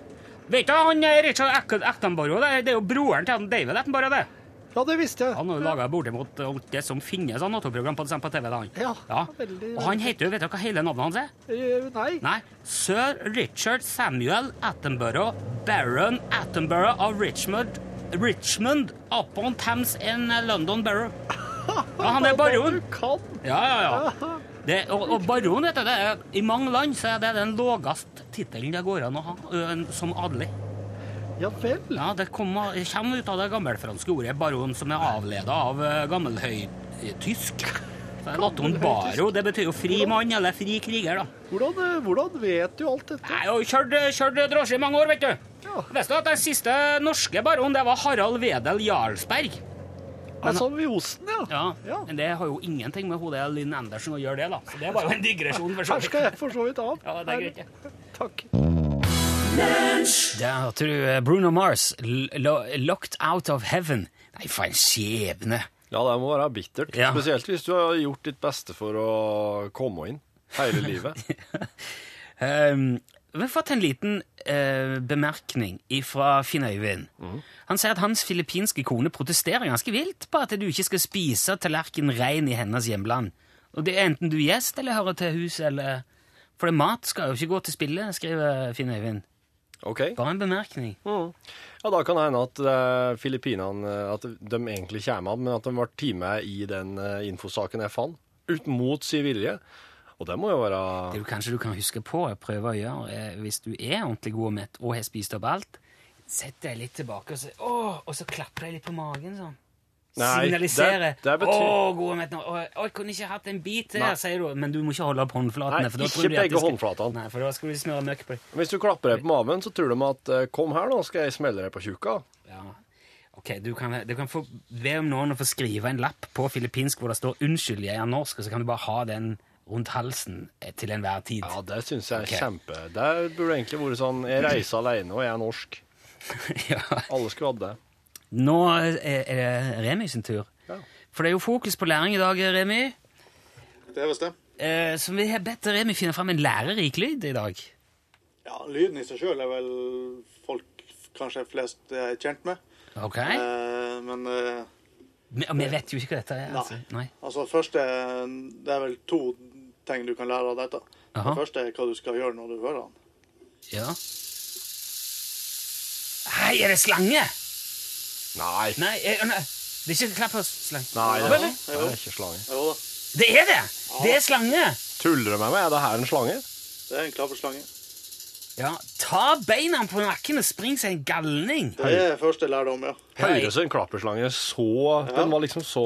Speaker 6: Vet du, han eh, Richard Ack- Attenborough, det, er- det er jo broren til han David Attenborough, det.
Speaker 7: Ja, det visste jeg.
Speaker 6: Han har jo laga bortimot alt det som finnes av naturprogram på, på TV, da han.
Speaker 7: Ja,
Speaker 6: ja.
Speaker 7: veldig,
Speaker 6: Og han heter jo, vet du hva hele navnet hans er?
Speaker 7: Eh, Nei.
Speaker 6: Nei, sir Richard Samuel Attenborough, baron Attenborough av Richmond, Richmond upon Thames in London Borough. Ja, han er baron.
Speaker 7: Du kan.
Speaker 6: Ja, ja, ja. Det, og, og baron, vet du, det er, i mange land så er det den lågeste tittelen det går an å ha ø, en- som adelig.
Speaker 7: Ja vel.
Speaker 6: Ja, det kommer, det kommer ut av det gammelfranske ordet baron, som er avledet av ø, gammelhøytysk. Så er Latin baro, det betyr jo fri mann eller fri kriger, da.
Speaker 7: Hvordan, eh, hvordan vet du alt dette?
Speaker 6: Jeg har jo kjørt, eh, kjørt drosje i mange år, vet du.
Speaker 7: Ja.
Speaker 6: Visste du at den siste norske baronen, det var Harald Wedel Jarlsberg?
Speaker 7: Jeg sa vi osten, ja.
Speaker 6: Ja.
Speaker 7: Ja.
Speaker 6: Men det har jo ingenting med hodet Linn Andersen å gjøre det, da. Så det var jo en digresjon, for så
Speaker 7: Her skal
Speaker 6: vidt.
Speaker 7: jeg for så vidt av.
Speaker 6: Ja, det er greit, ja.
Speaker 7: Takk.
Speaker 2: Der hørte du eh, Bruno Mars, L Lo- 'Locked Out of Heaven'. Nei, for en skjebne!
Speaker 4: Ja, det må være bittert.
Speaker 2: Ja.
Speaker 4: Spesielt hvis du har gjort ditt beste for å komme inn hele livet.
Speaker 2: Um, vi har fått en liten eh, bemerkning fra Finn Øyvind. Han sier at hans filippinske kone protesterer ganske vilt på at du ikke skal spise tallerken rein i hennes hjemland. Og det er enten du er gjest eller hører til huset eller For det mat skal jo ikke gå til spille, skriver Finn Øyvind.
Speaker 4: Ok?
Speaker 2: Bare en bemerkning.
Speaker 4: Ja, da kan det hende at eh, Filippinene eh, At de egentlig kommer av, men at de ble tatt med i den eh, infosaken jeg fant. Ut mot sin vilje. Og det må jo være
Speaker 2: Det du kanskje du kan huske på, prøve å gjøre, eh, hvis du er ordentlig god og mett og har spist opp alt, sett deg litt tilbake og så, åh, og så klapper deg litt på magen sånn.
Speaker 4: Nei,
Speaker 2: Signalisere.
Speaker 4: det- det betyr-
Speaker 2: Åh, god og mett nå. Åh, jeg kunne ikke hatt en bit til,
Speaker 4: Nei.
Speaker 2: sier du. Men du må ikke holde opp håndflatene.
Speaker 4: Nei,
Speaker 2: for da
Speaker 4: ikke
Speaker 2: tror de at
Speaker 4: begge
Speaker 2: det skal-
Speaker 4: håndflatene.
Speaker 2: Nei, for da skal du smøre møkk på det.
Speaker 4: Hvis du klapper deg på maven, så tror de at eh, 'kom her, nå skal jeg smelle deg på tjukka'.
Speaker 2: Ja. Ok, du kan, du kan få be om noen å få skrive en lapp på filippinsk hvor det står 'unnskyld, jeg er norsk', og så kan du bare ha den rundt halsen eh, til enhver tid.
Speaker 4: Ja, det syns jeg er
Speaker 2: Ok.
Speaker 4: kjempe Det burde egentlig vært sånn 'jeg reiser alene, og jeg er norsk'.
Speaker 2: ja.
Speaker 4: Alle skulle hatt det.
Speaker 2: Nå er er det Remi sin tur. For det er jo fokus på læring i dag, Remi.
Speaker 8: Det er visst det.
Speaker 2: Eh, så vi har bedt Remi finne fram en lærerik lyd i dag.
Speaker 8: Ja, lyden i seg sjøl er vel folk kanskje flest er kjent med.
Speaker 2: Ok?
Speaker 8: Eh, men eh,
Speaker 2: Men men vi vet jo ikke hva dette er. Altså. Nei.
Speaker 8: altså, først er, det er vel to ting du kan lære av dette.
Speaker 2: Aha.
Speaker 8: Det første er hva du skal gjøre når du hører den.
Speaker 2: Ja. Hei, er det slange?
Speaker 4: Nei.
Speaker 2: Nei, eh, nei. det er ikke klapp på slange.
Speaker 4: Nei, det,
Speaker 2: Hva er det?
Speaker 4: det er ikke slange.
Speaker 8: Jo da,
Speaker 2: Det er det! Det er slange!
Speaker 4: Tuller du med meg? Er det her en slange?
Speaker 8: det er en klapperslange.
Speaker 2: Ja, ta beina på nakken og spring seg en galning.
Speaker 8: Det er første lærdom, ja.
Speaker 4: Høres en klapperslange så Den var liksom så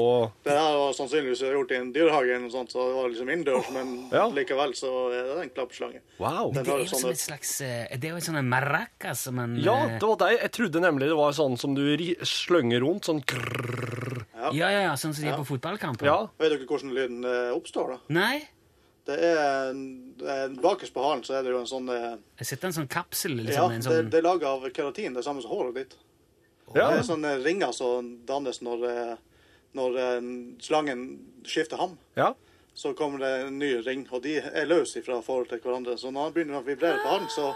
Speaker 8: Det her var sannsynligvis gjort i en dyrehage, eller noe sånt, så det var liksom innendørs, men
Speaker 4: Ja.
Speaker 8: likevel så er det en klapperslange.
Speaker 4: Wow.
Speaker 8: Den
Speaker 2: Det
Speaker 8: har
Speaker 2: er
Speaker 8: jo
Speaker 2: jo som
Speaker 8: sånne
Speaker 2: et slags eh, Det er jo en sånn maracas som en
Speaker 4: Ja,
Speaker 2: eh,
Speaker 4: det var deg. Jeg trodde nemlig det var sånn som du ri- slynger rundt. Sånn krrrr.
Speaker 2: ja, ja, ja, sånn som de er på fotballkamper.
Speaker 4: Ja.
Speaker 8: Vet dere hvordan lyden eh, oppstår, da?
Speaker 2: Nei?
Speaker 8: Det er en- en- Bakerst på halen så er det jo en sånn eh,
Speaker 2: Jeg sitter en sånn kapsel,
Speaker 8: Ja,
Speaker 2: liksom. en
Speaker 8: det,
Speaker 2: sånn...
Speaker 8: det er laget av keratin, det samme som håret ditt.
Speaker 4: ja.
Speaker 8: Det er
Speaker 2: sånn-
Speaker 8: sånne ringer som dannes når, eh, når eh, slangen skifter ham.
Speaker 4: ja.
Speaker 8: Så kommer det en ny ring, og de er løse fra forhold til hverandre. Så når han begynner å vibrere på halen, så,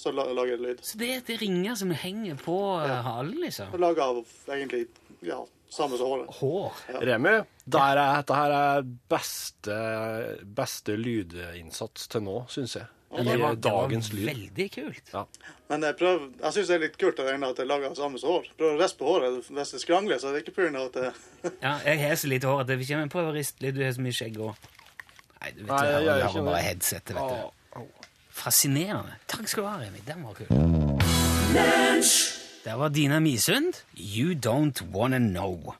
Speaker 8: så la- lager det lyd.
Speaker 2: Så det er at det ringer som henger på eh, halen, liksom?
Speaker 8: Det er Laget av egentlig ja, samme som håret.
Speaker 2: Hår.
Speaker 4: Remi, der er, dette her er beste, beste lydinnsats til nå, syns jeg. I
Speaker 2: Det var,
Speaker 4: eh, dagens
Speaker 2: det var
Speaker 4: lyd.
Speaker 2: veldig kult.
Speaker 8: Men jeg, prøv, jeg syns det er litt kult at det ene at det er laget av samme som hår. Prøv å riste på håret. Hvis det skrangler, så er det ikke pga. at det
Speaker 2: Ja, jeg har så lite hår at jeg vil ikke men prøv å riste litt. Du har så mye skjegg òg. Nei, du vet
Speaker 4: Nei,
Speaker 2: det,
Speaker 4: jeg gjør
Speaker 2: det
Speaker 4: ikke
Speaker 2: var bare
Speaker 4: det.
Speaker 2: headsetet, vet du. Fascinerende. Takk skal du ha, Remi. Den var kul. Der var Dina Misund. You don't wanna know.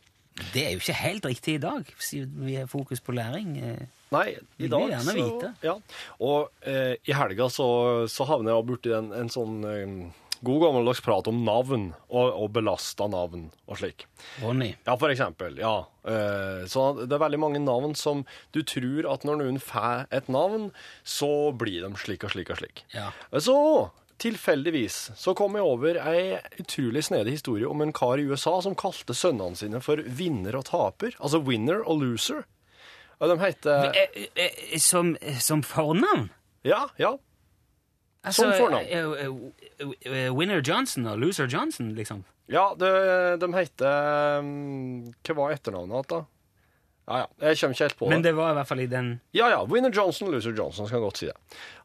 Speaker 2: Det er jo ikke helt riktig i dag, siden vi har fokus på læring. eh.
Speaker 4: Nei, i
Speaker 2: Vi vil
Speaker 4: dag
Speaker 2: gjerne
Speaker 4: så
Speaker 2: vite.
Speaker 4: Ja. Og eh, i helga så, så havner jeg borti en, en sånn eh, god gammeldags prat om navn, og, og belasta navn og slik.
Speaker 2: Ronny.
Speaker 4: Ja, for eksempel. Ja. Eh, Så det er veldig mange navn som du tror at når noen får et navn, så blir de slik og slik og slik. Eh,
Speaker 2: Ja.
Speaker 4: Så tilfeldigvis så kom jeg over ei utrolig snedig historie om en kar i USA som kalte sønnene sine for vinner og taper. Altså winner og loser. Og de heter
Speaker 2: Eh, eh, Som, som fornavn?
Speaker 4: Ja, ja.
Speaker 2: Sånn
Speaker 4: Som fornavn.
Speaker 2: Altså, eh, eh, eh, Winner Johnson og Loser Johnson, liksom.
Speaker 4: Ja, de, de heter mm, Hva var etternavnet hans, da? Ja, ja. Jeg kommer ikke helt på det.
Speaker 2: Men det var i hvert fall i den
Speaker 4: Ja, ja. Winner Johnson, loser Johnson, skal jeg godt si det.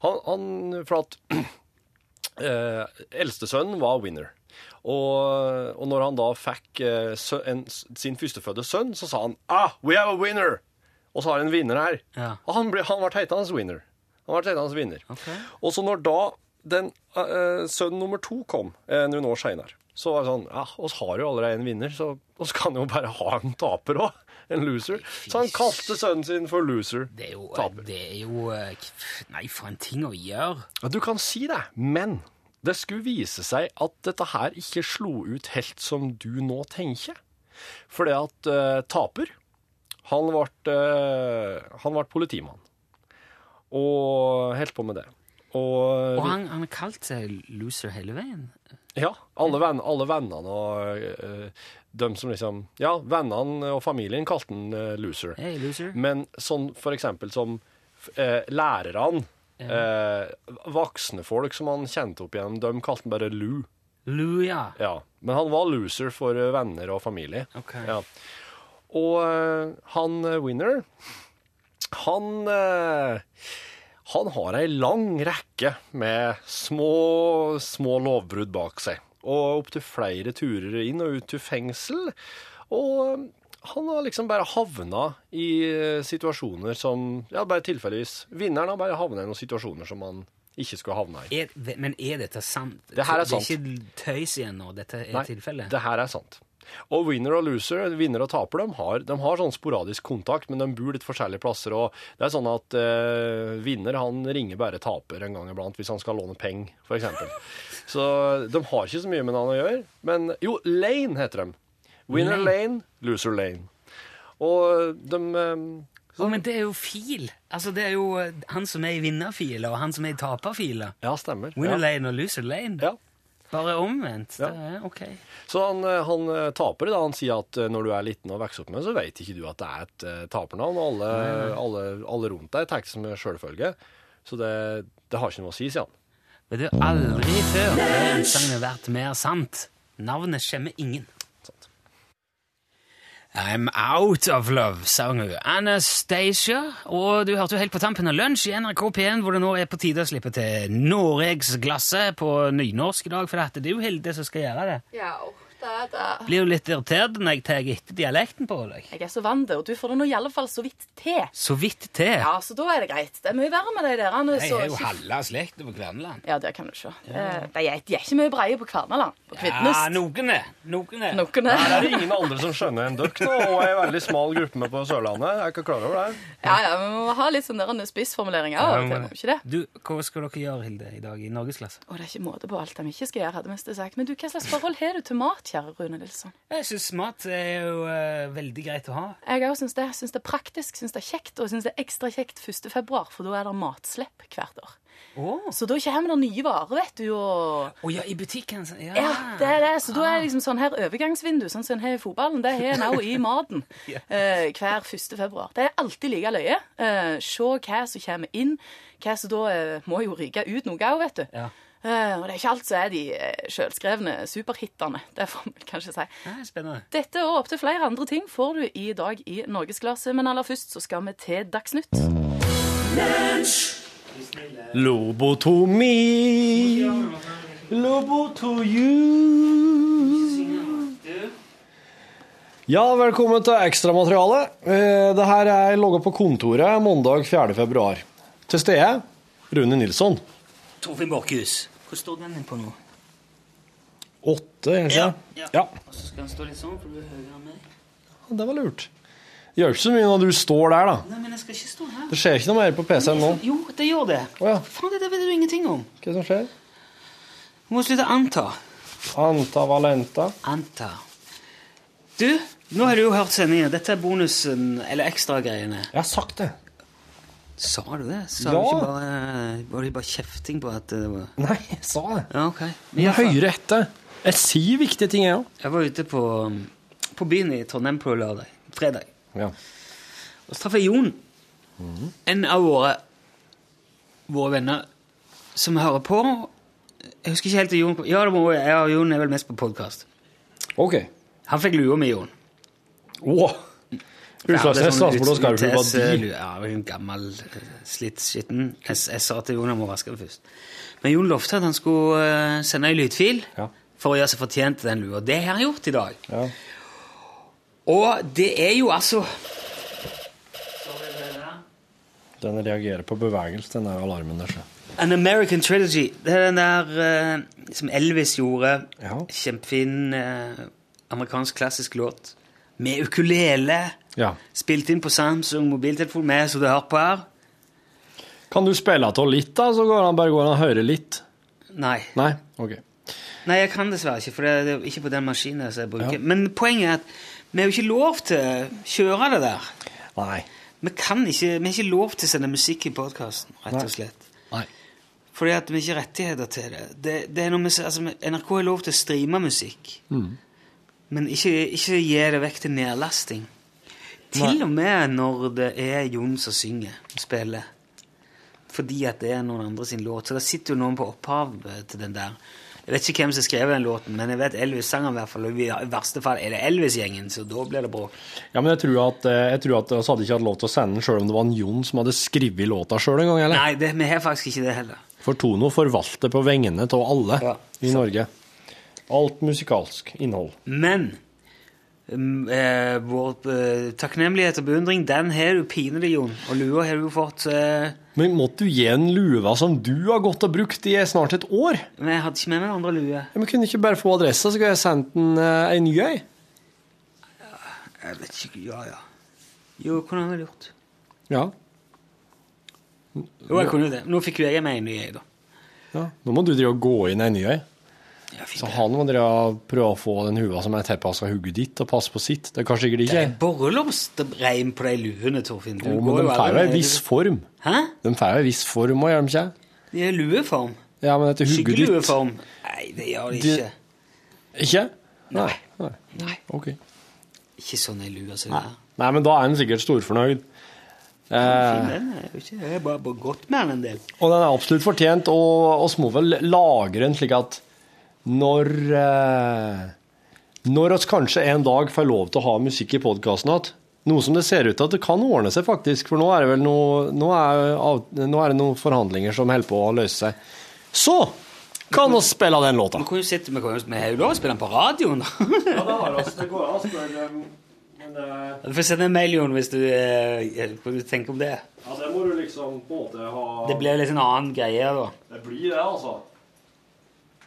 Speaker 4: Han, han For at eh, eldstesønnen var winner. Og, og når han da fikk eh, sø, en, sin førstefødte sønn, så sa han Ah, we have a winner! Og så har jeg en vinner her.
Speaker 2: Ja.
Speaker 4: Og han ble, han ble hetende winner. Han ble hetende vinner. Og så når da den eh, sønn nummer to kom eh, noen år seinere, så var det sånn Ja, oss har jo allerede en vinner, så oss kan jo bare ha en taper òg. En loser. Så han kalte sønnen sin for loser.
Speaker 2: Det er jo,
Speaker 4: Taper.
Speaker 2: det er jo eh, k- Nei, for en ting å gjøre.
Speaker 4: Ja, du kan si det, men det skulle vise seg at dette her ikke slo ut helt som du nå tenker. Fordi at eh, taper, han ble, han vart politimann. Og helt på med det. Og, eh,
Speaker 2: Og han, han har kalt seg Loser hele veien.
Speaker 4: ja, alle, venn, alle vennene og eh, dem som liksom Ja, vennene og familien kalte han eh, loser.
Speaker 2: Hey, loser.
Speaker 4: Men sånn for eksempel som eh, lærerne, eh, voksne folk som han kjente opp igjennom, de kalte han bare Lou.
Speaker 2: Lou, ja.
Speaker 4: Ja. Men han var loser for eh, venner og familie.
Speaker 2: Ok.
Speaker 4: Ja. Og eh, han eh, winner, han eh, Han har ei lang rekke med små, små lovbrudd bak seg. Og opptil flere turer inn og ut til fengsel. Og eh, han har liksom bare havna i eh, situasjoner som Ja, bare tilfeldigvis. Vinneren har bare havna i noen situasjoner som han ikke skulle havna i.
Speaker 2: Er, men er dette sant?
Speaker 4: Det her er
Speaker 2: Det er ikke tøys igjen nå, dette er tilfellet?
Speaker 4: det her er sant. Og winner og loser, vinner og taper, de har, de har sånn sporadisk kontakt, men de bor litt forskjellige plasser. Og det er sånn at eh, vinner han ringer bare taper en gang iblant hvis han skal låne penger, f.eks. Så de har ikke så mye med hverandre å gjøre. Men jo, Lane heter de. Winner Lane, loser Lane. Og de eh,
Speaker 2: Å, men det er jo fil! Altså, det er jo eh, han som er i vinnerfila, og han som er i taperfila.
Speaker 4: Ja, stemmer.
Speaker 2: Winner
Speaker 4: Ja.
Speaker 2: lane og loser lane.
Speaker 4: Ja.
Speaker 2: Bare omvendt.
Speaker 4: Ja.
Speaker 2: Det er ok.
Speaker 4: Så han, eh, han taper, da. Han sier at eh, når du er liten og vokser opp med, så vet ikke du at det er et eh, tapernavn. Og alle, alle, alle rundt deg tar det som en sjølfølge. Så det, det har ikke noe å si, sier han.
Speaker 2: Vet du, aldri før har utsagnet vært mer sant. Navnet skjemmer ingen. I'm out of love, sang hun. Anastacia. Og du hørte jo helt på tampen av lunsj i NRK P1, hvor det nå er på tide å slippe til Noregsglasset på nynorsk i dag, for at det er jo Hilde som skal gjøre det.
Speaker 9: Ja, det er det.
Speaker 2: Blir jo litt irritert når jeg tar etter dialekten på deg.
Speaker 9: Jeg er så vant til, og du får det nå i alle fall så vidt til.
Speaker 2: Så vidt til.
Speaker 9: Ja, så da er det greit. Det er mye verre med de der. han er
Speaker 2: Jeg
Speaker 9: så-
Speaker 2: er jo halve slekt på Kverneland.
Speaker 9: Ja, det kan du se. Eh, De er, de er ikke mye breie på Kvernaland. På Kvidnes.
Speaker 2: Ja, noen er. Noen er.
Speaker 9: Noen
Speaker 4: Her
Speaker 9: er
Speaker 4: er det ingen andre som skjønner en døkk nå, og ei veldig smal gruppe med på Sørlandet. Jeg er ikke klar over det.
Speaker 9: Ja, ja, men vi må ha litt sånn sånne spissformuleringer av og til, må vi ikke det?
Speaker 2: Du, hva skal dere gjøre, Hilde, i dag i Norgesklasse?
Speaker 9: Og det er ikke måte på alt de ikke skal gjøre, hadde mest sagt. Men du, hva slags forhold har du til mat, kjære Rune Nilsson?
Speaker 2: Jeg syns mat er jo eh, veldig greit å ha.
Speaker 9: Jeg òg syns det. Syns det er praktisk, syns det er kjekt, og syns det er ekstra kjekt 1. februar, for da er det matslipp hvert år.
Speaker 2: Å.
Speaker 9: Så da kommer det nye varer, vet du, og
Speaker 2: Å ja, i butikken. så- Ja.
Speaker 9: Ja, det er det. Så da er det liksom sånn her overgangsvindu, sånn som en har i fotballen, det har en òg i maten eh, hver 1. februar. Det er alltid like løye. Eh, se hva som kommer inn, hva som da eh, må jo ryke ut noe òg, vet du.
Speaker 2: Ja.
Speaker 9: Eh, og det er ikke alt som er de eh, sjølskrevne superhitene, det får vi kanskje si.
Speaker 2: Ja, spennende.
Speaker 9: Dette og opptil flere andre ting får du i dag i Norgesklasse, men aller først så skal vi til Dagsnytt.
Speaker 4: Lobotomi, lobotoju. Ja, velkommen til ekstramateriale. Eh, Det her er logget på kontoret mandag 4. februar. Til stede Rune Nilsson.
Speaker 6: Torfinn Borchhus. Hvor står den på nå?
Speaker 4: Åtte, er det ikke?
Speaker 6: Ja,
Speaker 4: ja.
Speaker 6: Og så skal han stå litt sånn, for du er høyere enn meg.
Speaker 4: Og det var lurt. Det gjør ikke så mye når du står der, da.
Speaker 2: Nei, men jeg skal ikke stå her.
Speaker 4: Det skjer ikke noe mer på PC-en nå.
Speaker 2: Jo, det gjør det.
Speaker 4: Å ja.
Speaker 2: Faen, det, det vet du ingenting om.
Speaker 4: Hva er det som skjer?
Speaker 2: Du må slutte å anta.
Speaker 4: Anta Valenta.
Speaker 2: Anta. Du, nå har du jo hørt sendingen. Dette er bonusen, eller ekstragreiene.
Speaker 4: Jeg har sagt det.
Speaker 2: Sa du det? Sa du
Speaker 4: Ja.
Speaker 2: ikke bare, var det bare kjefting på at det var...
Speaker 4: Nei, jeg sa det.
Speaker 2: Ja, ok. Men
Speaker 4: Men
Speaker 2: i
Speaker 4: jeg
Speaker 2: hvert fall,
Speaker 4: hører etter. Jeg sier viktige ting, jeg òg.
Speaker 2: Jeg var ute på, um, på byen i Trondheim på lørdag, fredag.
Speaker 4: Ja.
Speaker 2: Og så traff jeg Jon. En av våre, våre venner som hører på. Jeg husker ikke helt det Jon kom. Ja, det må, jeg og Jon er vel mest på podkast.
Speaker 4: OK.
Speaker 2: Han fikk lua med Jon.
Speaker 4: Wow. Utslagsnes, Stansbord og Skarfjord var bil.
Speaker 2: bil. sånn Ja, det var en gammel, eh, slitt, skitten. Jeg, jeg sa til Jon han må vaske den først. Men Jon lovte at han skulle eh, sende ei lydfil
Speaker 4: Ja.
Speaker 2: for å gjøre seg fortjent til den lua. Det har han gjort i dag.
Speaker 4: Ja.
Speaker 2: Og det er jo altså
Speaker 4: Den reagerer på bevegelse, den der alarmen der. så.
Speaker 2: An American Trilogy. Det er den der eh, som Elvis gjorde.
Speaker 4: Ja.
Speaker 2: Kjempefin eh, amerikansk klassisk låt. Med ukulele.
Speaker 4: Ja.
Speaker 2: Spilt inn på Samsung mobiltelefon med, som du har på her.
Speaker 4: Kan du spille av litt, da? Så går han bare går han og hører litt.
Speaker 2: Nei.
Speaker 4: Nei? OK.
Speaker 2: Nei, jeg kan dessverre ikke, for det det er ikke på den maskinen som jeg bruker.
Speaker 4: Ja.
Speaker 2: Men poenget er at vi har jo ikke lov til å kjøre det der.
Speaker 4: Nei.
Speaker 2: Vi kan ikke, vi har ikke lov til å sende musikk i podkasten, rett
Speaker 4: Nei.
Speaker 2: og slett.
Speaker 4: Nei.
Speaker 2: Fordi at vi ikke har rettigheter til det. det, det er noe med, altså, NRK har lov til å streame musikk, men ikke, ikke gi det vekk til nedlasting. Til og med når det er Jon som synger og spiller. Fordi at det er noen andre sin låt. Så det sitter jo noen på opphavet til den der. Jeg vet ikke hvem som skrev den låten, men jeg vet Elvis sang den i hvert fall. Og i verste fall er det Elvis-gjengen, så da blir det bråk.
Speaker 4: Ja, men jeg tror at, eh, jeg tror at oss hadde ikke hatt lov til å sende den sjøl om det var en Jon som hadde skrevet låta sjøl en gang, eller?
Speaker 2: Nei, det, vi har faktisk ikke det heller.
Speaker 4: For Tono forvalter på vegne av alle
Speaker 2: Ja.
Speaker 4: i Norge. Alt musikalsk innhold.
Speaker 2: Men mm, eh, vår eh, takknemlighet og beundring, den har du pinlig, Jon. Og lua har du fått eh,
Speaker 4: Men måtte du gi en lue som du har gått og brukt i snart et år?
Speaker 2: Men jeg hadde ikke med meg andre lue.
Speaker 4: Ja, men kunne ikke bare få adressa, så kunne jeg sendt den eh, ei ny ei?
Speaker 2: Jeg vet ikke Ja, ja. Jo, hvordan hadde jeg gjort?
Speaker 4: Ja.
Speaker 2: Jo, jeg kunne jo det. Nå fikk jo jeg meg en ny, jeg, da.
Speaker 4: ja. Nå må du drive og gå inn ei ny ei.
Speaker 2: Jeg fikk
Speaker 4: Så
Speaker 2: det.
Speaker 4: han må drive og prøve å få den hua som er tilpassa hodet ditt, og passe på sitt. Det er kanskje sikkert
Speaker 2: Det
Speaker 4: ikke
Speaker 2: er borrelomstreim på de luene, Torfinn. Du går
Speaker 4: Jo, men de får jo
Speaker 2: aldri
Speaker 4: ei
Speaker 2: med-
Speaker 4: viss form.
Speaker 2: Hæ?
Speaker 4: De får jo ei viss form òg, gjør de ikke?
Speaker 2: De er lueform.
Speaker 4: Ja, men etter hodet ditt
Speaker 2: Skyggelueform. Nei, det gjør de
Speaker 4: Det-
Speaker 2: ikke.
Speaker 4: Ikke? Nei. Nei.
Speaker 2: Nei.
Speaker 4: Ok.
Speaker 2: Ikke sånn ei lue som det er.
Speaker 4: Nei, men da er han sikkert storfornøyd. Eh,
Speaker 2: Den er jo ikke Jeg har bare bare gått med den en del.
Speaker 4: Og den er absolutt fortjent, og oss må vel lagre den slik at når eh, Når oss kanskje en dag får lov til å ha musikk i podkasten igjen, noe som det ser ut til at det kan ordne seg, faktisk, for nå er det vel noe, nå er, av- nå er det noen forhandlinger som holder på å løse seg. Så kan vi spille den låta.
Speaker 2: Vi kunne jo sitte med Vi har jo lov å spille den på radioen, da.
Speaker 4: eh,
Speaker 2: Du får sende en mail, Jon, hvis du, eh, hva du tenker om det.
Speaker 4: det må du liksom på en måte ha
Speaker 2: Det blir litt en annen greie, da.
Speaker 4: Det blir det, altså.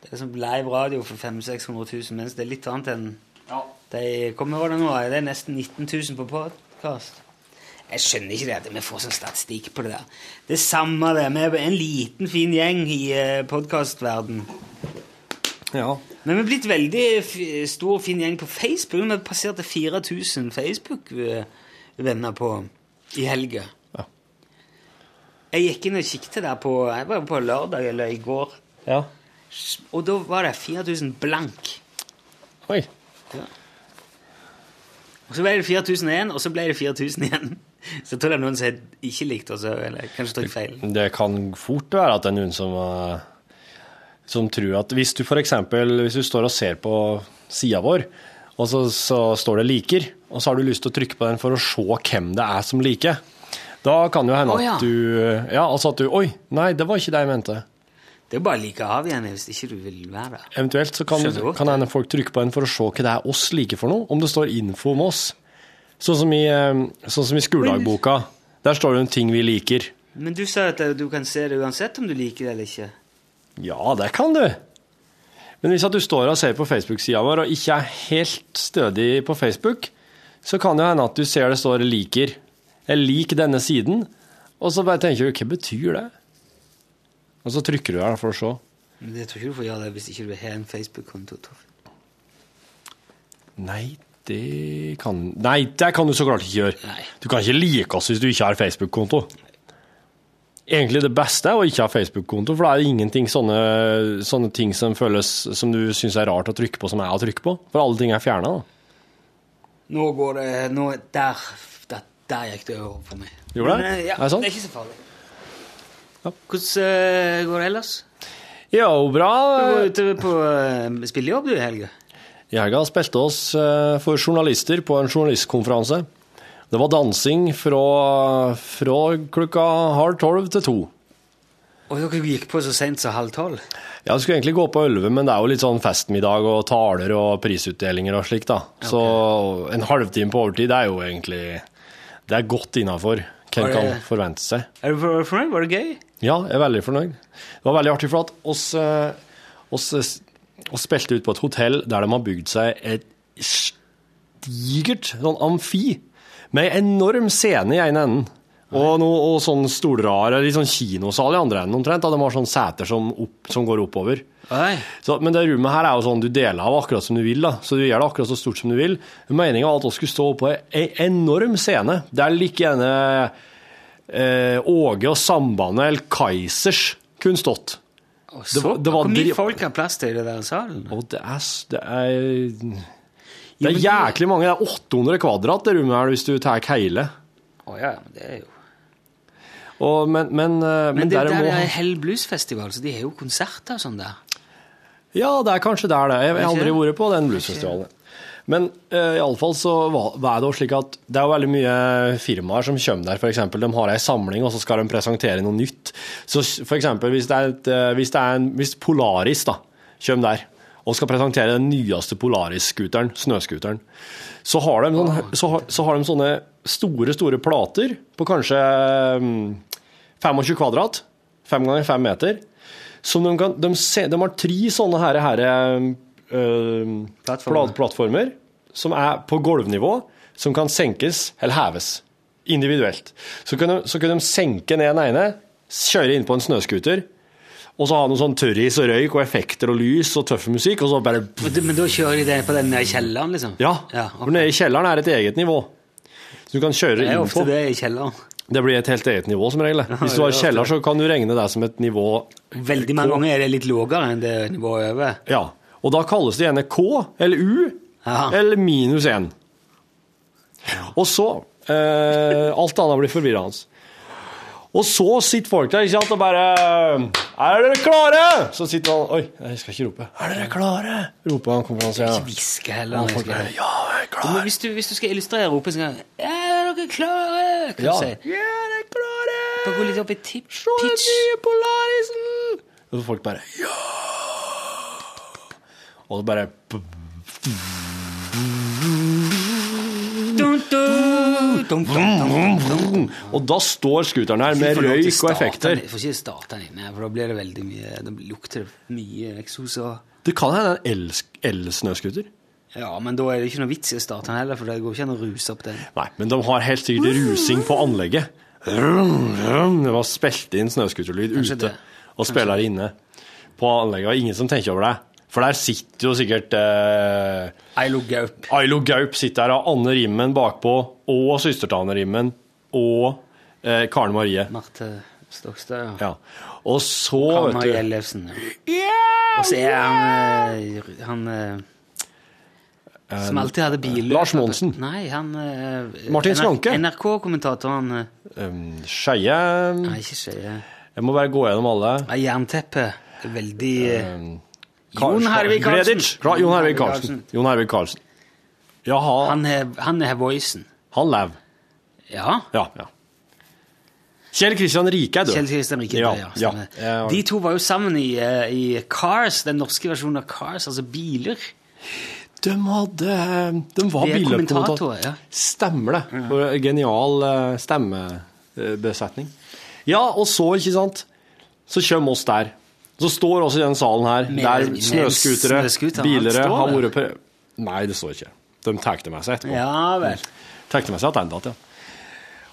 Speaker 2: Det er som live radio for 500 000-600 000, mens det er litt annet enn
Speaker 4: Ja.
Speaker 2: de Hvor mye var det nå? Det er nesten 19 000 på podkast. Jeg skjønner ikke det at vi får sånn statistikk på det der. Det er samme det. Vi er en liten, fin gjeng i podkastverden.
Speaker 4: ja.
Speaker 2: Men vi er blitt veldig f- stor, fin gjeng på Facebook. Vi passerte 4000 Facebook-venner på i helga.
Speaker 4: Ja.
Speaker 2: Jeg gikk inn og kikket der på jeg var på lørdag eller i går,
Speaker 4: ja.
Speaker 2: og da var det 4000 blank.
Speaker 4: Oi.
Speaker 2: Og så ble det 4001, og så ble det 4000 igjen. Så jeg tror det er noen som ikke likte oss, eller kanskje tok feil.
Speaker 4: Det kan fort være at det er noen som, eh, som tror at hvis du for eksempel, hvis du står og ser på sida vår, og så, så står det liker, og så har du lyst til å trykke på den for å se hvem det er som liker, da kan det jo hende
Speaker 2: Å, ja.
Speaker 4: at du Ja, altså at du Oi, nei, det var ikke det jeg mente.
Speaker 2: Det er jo bare å like av igjen hvis ikke du vil være der.
Speaker 4: Eventuelt så kan,
Speaker 2: Skjønner du godt.
Speaker 4: kan det hende folk trykke på den for å se hva det er oss liker for noe, om det står info om oss. Sånn som i, eh, sånn som i skoledagboka. Der står det om ting vi liker.
Speaker 2: Men du sa at eh, du kan se det uansett om du liker det eller ikke.
Speaker 4: Ja, det kan du. Men hvis at du står og ser på Facebook-sida vår og ikke er helt stødig på Facebook, så kan det hende at du ser det står 'liker'. Jeg liker denne siden. Og så bare tenker du 'hva betyr det?' Og så trykker du her for å se.
Speaker 2: Men jeg tror ikke du får gjøre det hvis ikke du har en Facebook-konto. Torfinn.
Speaker 4: Nei, det kan Nei, det kan du så klart ikke gjøre.
Speaker 2: Nei.
Speaker 4: Du kan ikke like oss hvis du ikke har Facebook-konto. Egentlig det beste er å ikke ha Facebook-konto, for da er det ingenting sånne, sånne ting som føles som du syns er rart å trykke på, som er å trykke på. For alle ting er fjerna, da.
Speaker 2: Nå går det nå, der, der, der gikk det over for meg.
Speaker 4: Gjorde
Speaker 2: Men,
Speaker 4: det?
Speaker 2: eh, ja,
Speaker 4: Er det sant?
Speaker 2: det er ikke så farlig. Hvordan eh, går det ellers?
Speaker 4: Jo, bra.
Speaker 2: Du var ute på eh, spillejobb du i helga.
Speaker 4: I helga spilte oss eh, for journalister på en journalistkonferanse. Det var dansing fra, fra klokka halv tolv til to.
Speaker 2: Og dere gikk på så seint som halv tolv?
Speaker 4: Ja, det skulle egentlig gå på 11, men det er jo litt sånn festmiddag og taler og prisutdelinger og slikt, da. Så en halvtime på overtid er jo egentlig Det er godt innafor. Hvem
Speaker 2: Var det-
Speaker 4: kan forvente seg?
Speaker 2: Er du for- fornøyd? Var det gøy?
Speaker 4: Ja, jeg er veldig fornøyd. Det var veldig artig, for at oss, eh, oss, eh, oss spilte ut på et hotell der de har bygd seg et stigert sånn amfi med en enorm scene i ene enden. Og, noe, og sånn stolrader, litt sånn kinosal i andre enden omtrent. Da. De har sånn seter som, opp, som går oppover.
Speaker 2: Nei.
Speaker 4: Så, men det rommet her er jo sånn, du deler av akkurat som du vil, da. så du gjør det akkurat så stort som du vil. Meningen var at vi skulle stå på en enorm scene. Det er like gjerne eh, Åge og Sambandet eller Kaizers kunne stått.
Speaker 2: Å,
Speaker 4: Det var-
Speaker 2: så-
Speaker 4: det var
Speaker 2: Hvor mye
Speaker 4: dri-
Speaker 2: folk har plass til i det der salen?
Speaker 4: Og det er, s- det er, det
Speaker 2: men
Speaker 4: er
Speaker 2: det-
Speaker 4: jæklig mange. Det er 800 kvadrat det rommet her hvis du tar hele.
Speaker 2: Å ja, men det er jo
Speaker 4: Og, men, men, eh,
Speaker 2: Men,
Speaker 4: men
Speaker 2: det der
Speaker 4: derimot-
Speaker 2: er Hell Blues-festival, så de har jo konserter og sånn der.
Speaker 4: Ja, det er kanskje der det er. Jeg har
Speaker 2: Ikke?
Speaker 4: aldri vært på den bluesfestivalen. Men uh, iallfall så var var det jo slik at det er jo veldig mye firmaer som kommer der, f.eks. De har ei samling, og så skal de presentere noe nytt. Så f.eks. Hvis, det er et, eh, hvis, det er en, hvis Polaris da, kommer der og skal presentere den nyeste Polaris-scooteren, snøscooteren, så har, de sånn, så, har, så har de sånne store, store plater på kanskje mm, 25 kvadrat, 5 ganger 5 meter, som de, kan, de, se, de har tre sånne her, her eh, plat- plattformer som er på gulvnivå, som kan senkes eller heves individuelt. Så kan de, så kan de senke ned den ene, kjøre inn på en snøskuter, og så ha noe sånn tørris og røyk og effekter og lys og tøff musikk, og så bare
Speaker 2: Men, du- men da kjører de det på den der kjelleren, liksom?
Speaker 4: Ja,
Speaker 2: ok.
Speaker 4: for nede i kjelleren er et eget nivå. Så du kan kjøre
Speaker 2: Det er
Speaker 4: inn
Speaker 2: ofte
Speaker 4: på.
Speaker 2: det i kjelleren.
Speaker 4: Det blir et helt eget nivå som regel. Hvis du har kjeller, så kan du regne det som et nivå
Speaker 2: Veldig mange ganger er det litt lavere enn det nivået over.
Speaker 4: Ja, og da kalles det gjerne K, eller U,
Speaker 2: Ja.
Speaker 4: eller minus 1. Og så, eh, alt annet blir forvirrende. Og så sitter folk der, ikke sant, og bare, er dere klare? Så sitter han, oi, jeg skal ikke rope. Er dere klare? Roper han konferansieren.
Speaker 2: Hviske heller.
Speaker 4: Og folk
Speaker 2: liksom.
Speaker 4: bare, Ja, jeg er
Speaker 2: Men
Speaker 4: klar.
Speaker 2: hvis du, hvis du skal illustrere oppe, så kan du Er dere klare? Kan
Speaker 4: Ja,
Speaker 2: du
Speaker 4: ja,
Speaker 2: si.
Speaker 4: dere er klare.
Speaker 2: Bare gå litt opp i tip,
Speaker 4: Se den
Speaker 2: pitch.
Speaker 4: nye Polarisen! Og så folk bare Ja! Og så bare
Speaker 2: Dun, dun, dun, dun, dun, dun, dun.
Speaker 4: Og da står scooteren her med
Speaker 2: Får lov til å
Speaker 4: røyk og
Speaker 2: starte
Speaker 4: effekter.
Speaker 2: den- Får ikke starte den inne, for da blir det veldig mye Da lukter det mye eksos og
Speaker 4: Det kan hende en el- elsnøscooter.
Speaker 2: Ja, men da er det ikke noe vits i å starte den heller, for det går ikke an å ruse opp den.
Speaker 4: Nei, men de har helt sikkert rusing på anlegget. Rum, rum. De har spilt inn snøscooterlyd
Speaker 2: Kanskje
Speaker 4: ute
Speaker 2: det.
Speaker 4: og spiller inne på anlegget. Og ingen som tenker over det. For der sitter jo sikkert eh,
Speaker 2: Eilo Gaup.
Speaker 4: Ailo Gaup sitter her, og Anne Rimmen bakpå, og søster til Anne Rimmen, og eh, Karen Marie.
Speaker 2: Marte Stokstad, ja.
Speaker 4: Ja. Og så,
Speaker 2: Hanna
Speaker 4: vet du
Speaker 2: Gjellefsen. Og så er han eh, Han eh, som alltid hadde bil
Speaker 4: Lars Monsen.
Speaker 2: Nei, han eh,
Speaker 4: Martin
Speaker 2: NR-
Speaker 4: Skanke.
Speaker 2: NRK-kommentatoren eh,
Speaker 4: um, Skeie
Speaker 2: Nei, ikke Skeie.
Speaker 4: Jeg må bare gå gjennom alle.
Speaker 2: Nei, Jernteppe. Veldig eh,
Speaker 4: Kar-
Speaker 2: Jon Hervig Karlsen.
Speaker 4: Gleditsch. Ra- Jon Hervig Karlsen. Jon Hervig Karlsen. Jaha, han,
Speaker 2: Han er, han er voicen.
Speaker 4: lev.
Speaker 2: Ja.
Speaker 4: Ja. ja. Kjell Kristian Rike er død.
Speaker 2: Kjell Kristian Rike.
Speaker 4: Ja,
Speaker 2: Ja, ja, stemmer.
Speaker 4: ja.
Speaker 2: De to var jo sammen i, eh, i Cars, den norske versjonen av Cars, altså biler.
Speaker 4: De hadde De var
Speaker 2: De er kommentatorer,
Speaker 4: billedkommentatorer.
Speaker 2: ja.
Speaker 4: Stemmer det. For en Genial eh, stemmebesetning. Ja, og så, ikke sant, så kommer oss der. Så står oss i den salen her,
Speaker 2: Med-
Speaker 4: der
Speaker 2: med
Speaker 4: snøskutere,
Speaker 2: snøskuter, han
Speaker 4: bilere
Speaker 2: står
Speaker 4: har
Speaker 2: der.
Speaker 4: vært på Nei, det står ikke. De tar det med seg etterpå.
Speaker 2: Ja vel.
Speaker 4: Tar det med seg tilbake igjen.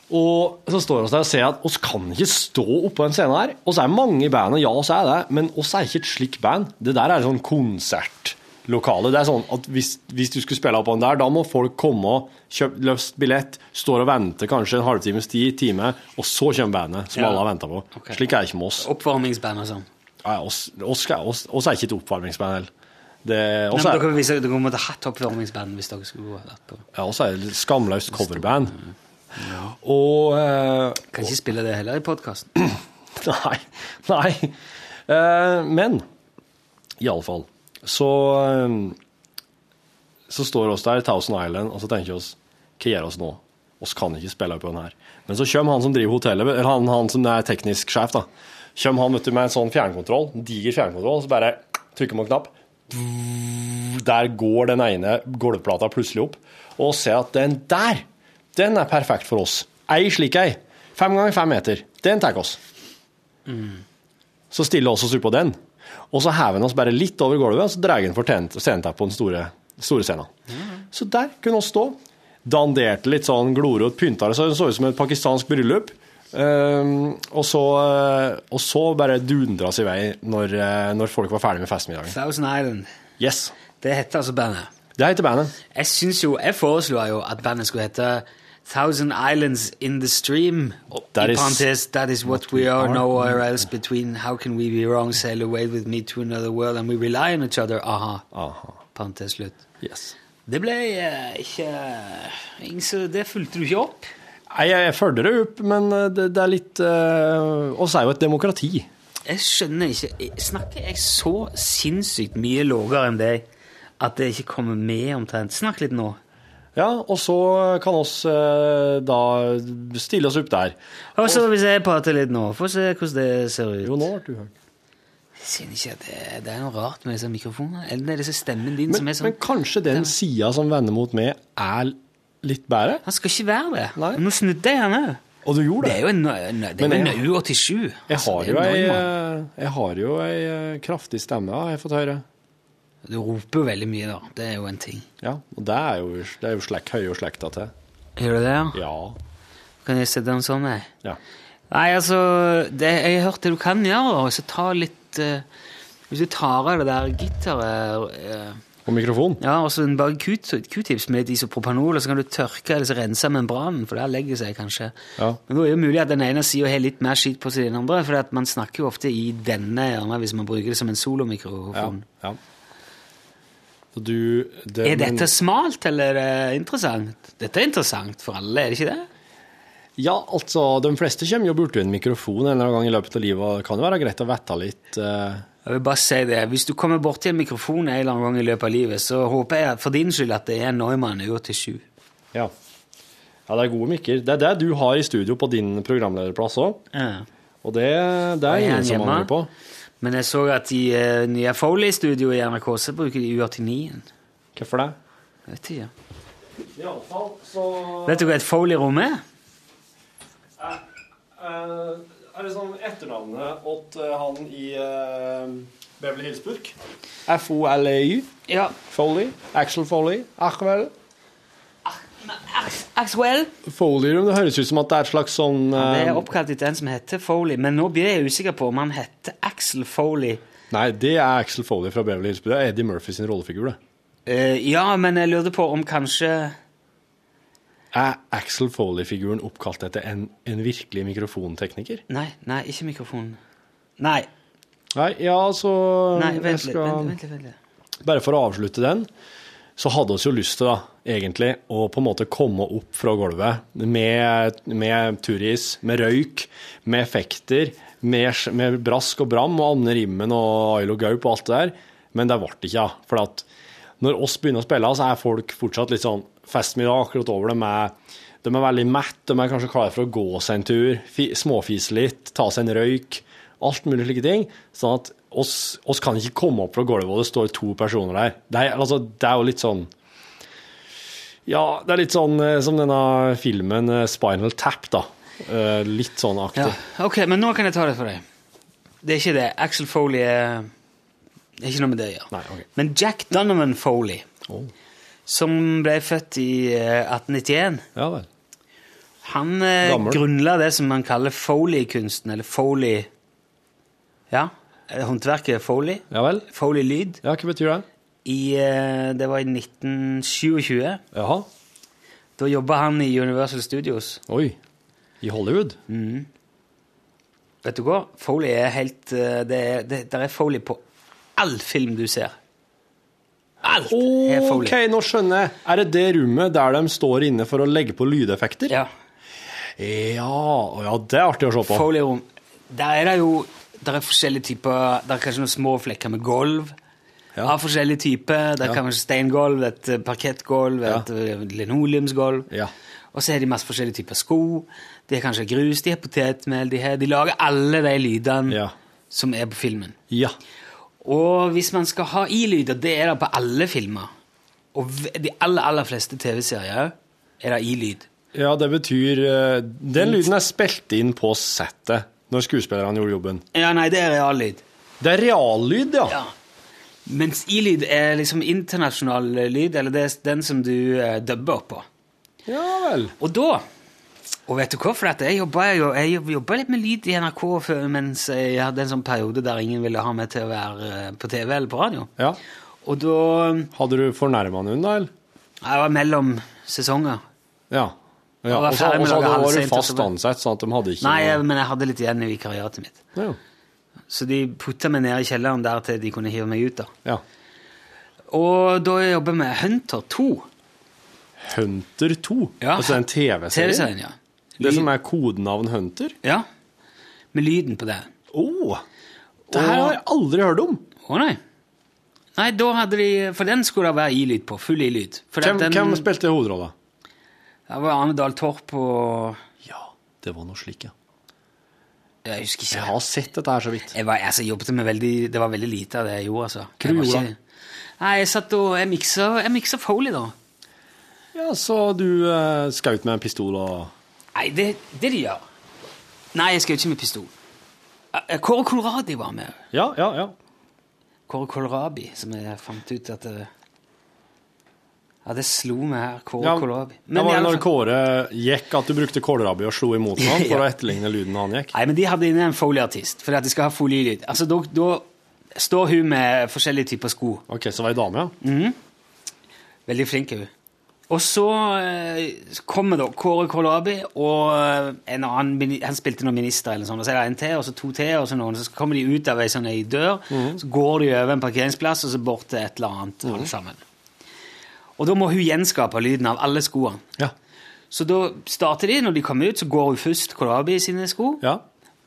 Speaker 4: Og så står vi der og ser at oss kan ikke stå oppå den scenen her. Oss er mange i bandet, ja, oss er det, men oss er ikke et slikt band. Det der er sånn konsertlokale. Det er sånn at hvis, hvis du skulle spille oppå den der, da må folk komme, kjøpe løst billett, står og venter kanskje en halvtimes tid, time, og så kommer bandet som
Speaker 2: Ja.
Speaker 4: alle har venta på.
Speaker 2: Ok.
Speaker 4: Slik er det ikke med oss.
Speaker 2: Oppvarmingsband og sånn.
Speaker 4: Ja, oss, oss, skal- oss, oss er ikke et oppvarmingsband heller. Det,
Speaker 2: Nei,
Speaker 4: oss
Speaker 2: men
Speaker 4: er,
Speaker 2: Dere, hvis, dere måtte hatt oppvarmingsband hvis dere Mm. skulle vært på.
Speaker 4: ja, oss er et skamløst coverband. Og eh,
Speaker 2: Kan ikke spille det heller i podkasten.
Speaker 4: Nei. nei. Eh, men iallfall så eh, Så står oss der, Thousand Island, og så tenker oss Hva gjør oss nå? Oss kan ikke spille på den her. Men så kommer han som driver hotellet, eller han, han som er teknisk sjef, da. Kommer han vet du, med en sånn fjernkontroll, en diger fjernkontroll, så bare trykker man knapp. Der går den ene gulvplata plutselig opp, og ser at den der, den er perfekt for oss. Ei slik ei. Fem ganger fem meter. Den tar oss. Så stiller oss oss ut på den. Og så hever han oss bare litt over gulvet, og så drar han for tent- scenetapp på den store, store scenen. Så der kunne oss stå. Danderte litt sånn glorot, pynta det, så det så ut som et pakistansk bryllup. Ehm, og, så, eh, og så bare dundra oss i vei når, eh, når folk var ferdig med festmiddagen.
Speaker 2: Thousand Island.
Speaker 4: Yes.
Speaker 2: Det heter altså bandet.
Speaker 4: Det heter bandet.
Speaker 2: Jeg synes jo, jeg foreslår jo at bandet skulle hete Thousand Islands in the Stream.
Speaker 4: That
Speaker 2: I
Speaker 4: is
Speaker 2: parentes, that is what we are, nowhere else between. How can we be wrong? Sail away with me to another world and we rely on each other. Aha.
Speaker 4: Aha.
Speaker 2: Parentes slutt.
Speaker 4: Yes.
Speaker 2: Det ble eh, ikke ingen så- Det fulgte du ikke opp.
Speaker 4: Nei, jeg, jeg følger det opp, men eh, det, det er litt uh, oss er jo et demokrati.
Speaker 2: Jeg skjønner ikke jeg- Snakker jeg så sinnssykt mye lavere enn deg at det ikke kommer med omtrent? Snakk litt nå.
Speaker 4: Ja, og så kan oss eh, da stille oss opp der.
Speaker 2: Og så hvis jeg prater litt nå, få se hvordan det ser ut.
Speaker 4: Jo, nå ble du hørt.
Speaker 2: Jeg synes ikke at det, det er noe rart med disse mikrofonene. Eller det er disse stemmen din
Speaker 4: Men,
Speaker 2: som er sånn
Speaker 4: men kanskje den sida som vender mot meg, er litt bedre?
Speaker 2: Han skal ikke være det.
Speaker 4: Nei.
Speaker 2: Nå snudde jeg henne.
Speaker 4: Og du gjorde
Speaker 2: Det
Speaker 4: det.
Speaker 2: er jo en, nø- det er jo
Speaker 4: Men
Speaker 2: en
Speaker 4: jeg-
Speaker 2: U87.
Speaker 4: Jeg
Speaker 2: Altså,
Speaker 4: har
Speaker 2: det er
Speaker 4: jo ei,
Speaker 2: normal.
Speaker 4: eh, jeg har jo ei eh, kraftig stemme, har jeg fått høre.
Speaker 2: Du roper jo veldig mye, da. Det er jo en ting.
Speaker 4: Ja, og det er jo, det er jo slekt, høye og slekta til.
Speaker 2: Gjør du det? ja?
Speaker 4: Ja.
Speaker 2: Kan jeg sette den sånn, jeg?
Speaker 4: ja.
Speaker 2: Nei, altså det, Jeg har hørt det du kan gjøre, da. Så ta litt eh, Hvis du tar av det der gitteret eh,
Speaker 4: Og mikrofon.
Speaker 2: Ja, og så en bare Q- Q-tips med isopropanol, og så kan du tørke eller så rense membranen, for der legger det seg kanskje.
Speaker 4: Ja.
Speaker 2: Men da er det jo mulig at den ene sida har litt mer skitt på seg enn den andre, for at man snakker jo ofte i denne gjerne hvis man bruker det som en
Speaker 4: Ja.
Speaker 2: solomikrofon.
Speaker 4: ja. Så du det,
Speaker 2: Er dette smalt, eller er det interessant? Dette er interessant for alle, er det ikke det?
Speaker 4: Ja, altså, de fleste kommer jo borti en mikrofon en eller annen gang i løpet av livet, og det kan jo være greit å vette litt. eh,
Speaker 2: Jeg vil bare si det. Hvis du kommer borti en mikrofon en eller annen gang i løpet av livet, så håper jeg at- for din skyld at det er en Neumann U87.
Speaker 4: Ja. ja, det er gode mikker. Det er det du har i studio på din programlederplass òg.
Speaker 2: Ja.
Speaker 4: Og det, det
Speaker 2: Og
Speaker 4: er
Speaker 2: jeg er
Speaker 4: ingen som
Speaker 2: hjemme.
Speaker 4: angrer på.
Speaker 2: Men jeg så at i eh, nye Foley-studio i NRK, så bruker de U89-en.
Speaker 4: Hvorfor det?
Speaker 2: Vet ikke, ja.
Speaker 4: Iallfall så
Speaker 2: Vet du hva et Foley-rom er?
Speaker 4: eh, Er det sånn etternavnet åt eh, han i eh, Beverly Hillsburg? FOLEY.
Speaker 2: Ja.
Speaker 4: Foley. Axel Foley. Achwell.
Speaker 2: Axwell.
Speaker 4: Foley Room. Det høres ut som at det er et slags sånn
Speaker 2: Det
Speaker 4: eh,
Speaker 2: er oppkalt etter en som heter Foley, men nå blir jeg usikker på om han heter Axel Foley.
Speaker 4: Nei, det er Axel Foley fra Beverly Hillsburg. Det er Eddie Murphy sin rollefigur, det.
Speaker 2: Eh, ja, men jeg lurte på om kanskje
Speaker 4: Er Axel Foley-figuren oppkalt etter en, en virkelig mikrofontekniker?
Speaker 2: Nei, nei, ikke mikrofonen. Nei,
Speaker 4: Nei, ja, altså
Speaker 2: nei,
Speaker 4: jeg
Speaker 2: vent litt. Vent,
Speaker 4: skal-
Speaker 2: vent litt, vent litt.
Speaker 4: Bare for å avslutte den, så hadde oss jo lyst til da, egentlig, å på en måte komme opp fra gulvet med, med turis, med røyk, med effekter, med, med brask og bram og Anne Rimmen og Ailo Gaup og alt det der, men det ble det ikke, da. For at når oss begynner å spille, så er folk fortsatt litt sånn festmiddag akkurat over dem. Er, de er veldig mett, de er kanskje klare for å gå seg en tur, fi- småfise litt, ta seg en røyk, alt mulig slike ting. Sånn at oss, oss kan ikke komme opp fra gulvet og det står to personer der. Det er, altså, det er jo litt sånn Ja, det er litt sånn eh, som denne filmen eh, Spinal Tap, da. Eh, litt sånn aktig.
Speaker 2: Ja. Ok, men nå kan jeg ta det for deg. Det er ikke det. Axel Foley er Det er ikke noe med det å gjøre.
Speaker 4: Nei, ok.
Speaker 2: Men Jack Donovan Foley som ble født i eh, 1891.
Speaker 4: Ja vel.
Speaker 2: Han eh,
Speaker 4: Gammel.
Speaker 2: grunnla det som man kaller foley-kunsten, eller foley Ja, eh, håndverket foley.
Speaker 4: Ja vel.
Speaker 2: Foley-lyd.
Speaker 4: Ja, Hva betyr det?
Speaker 2: I, eh, det var i 1927.
Speaker 4: Jaha.
Speaker 2: Da jobba han i Universal Studios.
Speaker 4: Oi. I Hollywood?
Speaker 2: Mm. Vet du hva? Foley er helt eh, Det er, det, der er Foley på all film du ser. Alt er Foley.
Speaker 4: Ok, nå skjønner jeg. Er det det rommet der de står inne for å legge på lydeffekter?
Speaker 2: Ja.
Speaker 4: Ja, å ja det er artig å se på.
Speaker 2: Foley-rom. Der er det jo der er forskjellige typer Der er kanskje noen små flekker med gulv. Av forskjellige typer. Der
Speaker 4: Ja.
Speaker 2: kan være steingulv, et eh, parkettgulv, et eh, linoleumsgulv. Og så har de masse forskjellige typer sko. De har kanskje grus, de har potetmel de, har, de lager alle de lydene som er på filmen.
Speaker 4: Ja.
Speaker 2: Og hvis man skal ha i-lyder, det er det på alle filmer. Og v- de aller, aller fleste TV-serier er det i-lyd.
Speaker 4: Ja, det betyr eh, Den lyden er spilt inn på settet når skuespillerne gjorde jobben.
Speaker 2: Ja, nei, det er reallyd.
Speaker 4: Det er reallyd, ja.
Speaker 2: Mens i-lyd er liksom internasjonal eh, lyd, eller det er s- den som du eh, dubber oppå.
Speaker 4: Ja vel.
Speaker 2: Og da Og vet du hva? For at jeg jobba jo jeg jobb- jobbet litt med lyd i NRK før, mens jeg hadde en sånn periode der ingen ville ha meg til å være eh, på TV eller på radio.
Speaker 4: Ja.
Speaker 2: Og da eh,
Speaker 4: Hadde du fornærma noen, da? eller?
Speaker 2: Jeg var mellom sesonger.
Speaker 4: Ja. ja.
Speaker 2: Jeg var
Speaker 4: Og så
Speaker 2: ferdig med å
Speaker 4: og så
Speaker 2: lage
Speaker 4: hadde- var
Speaker 2: halvsent,
Speaker 4: du fast
Speaker 2: og så-
Speaker 4: ansatt, sånn at de hadde ikke
Speaker 2: Nei, jeg, men jeg hadde litt igjen i vikariatet mitt.
Speaker 4: Ja.
Speaker 2: Så de putta meg ned i kjelleren der til de kunne hive meg ut. da.
Speaker 4: Ja.
Speaker 2: Og da jobber vi med Hunter 2.
Speaker 4: Hunter 2.
Speaker 2: Ja.
Speaker 4: Altså den TV-serien?
Speaker 2: TV-serien, ja.
Speaker 4: Det som er kodenavn Hunter?
Speaker 2: Ja. Med lyden på det.
Speaker 4: Oh. Det her har jeg aldri hørt om.
Speaker 2: Å nei. Nei, da hadde de, For den skulle det være i-lyd på. Full i-lyd. For at
Speaker 4: Hvem,
Speaker 2: den,
Speaker 4: hvem spilte hovedrolla?
Speaker 2: Det var Arne Dahl Torp og
Speaker 4: Det var noe slik, ja.
Speaker 2: Jeg husker ikke.
Speaker 4: Jeg har sett dette her så vidt.
Speaker 2: Jeg var, altså, jeg jobbet med veldig, Det var veldig lite av det jeg gjorde. altså.
Speaker 4: Hva du
Speaker 2: Jeg var
Speaker 4: gjorde
Speaker 2: ikke- Nei, Jeg satt og jeg miksa, jeg miksa Foley, da.
Speaker 4: Ja, så du uh, skaut med en pistol og
Speaker 2: Nei, det, det de gjør Nei, jeg skal jo ikke med pistol. Eh, Kåre Kolrabi var med.
Speaker 4: Ja, ja, ja.
Speaker 2: Kåre Kolrabi, som jeg fant ut at eh, Ja, det slo meg her. Kåre
Speaker 4: ja,
Speaker 2: Kolrabi.
Speaker 4: Det
Speaker 2: i
Speaker 4: var
Speaker 2: alle
Speaker 4: det når
Speaker 2: fall-
Speaker 4: Kåre gikk at du brukte kålrabi og slo imot ham
Speaker 2: altså-
Speaker 4: for å
Speaker 2: Ja.
Speaker 4: etterligne lyden han gikk.
Speaker 2: Nei, men de hadde inne en folieartist, fordi at de skal ha folielyd. Altså, da, da står hun med forskjellige typer sko.
Speaker 4: Ok, så var det dame, ja.
Speaker 2: Veldig flink er hun. Og så eh, kommer da Kåre Kålrabi og eh, en annen, mini- han spilte noen minister eller sånn, og så er det en til, og så to til, og så noen, så kommer de ut av ei sånn ei dør, så går de over en parkeringsplass, og så bort til et eller annet, alle sammen. Og da må hun gjenskape lyden av alle skoene.
Speaker 4: Ja.
Speaker 2: Så da starter de, når de kommer ut, så går hun først Kålrabi sine sko,
Speaker 4: Ja.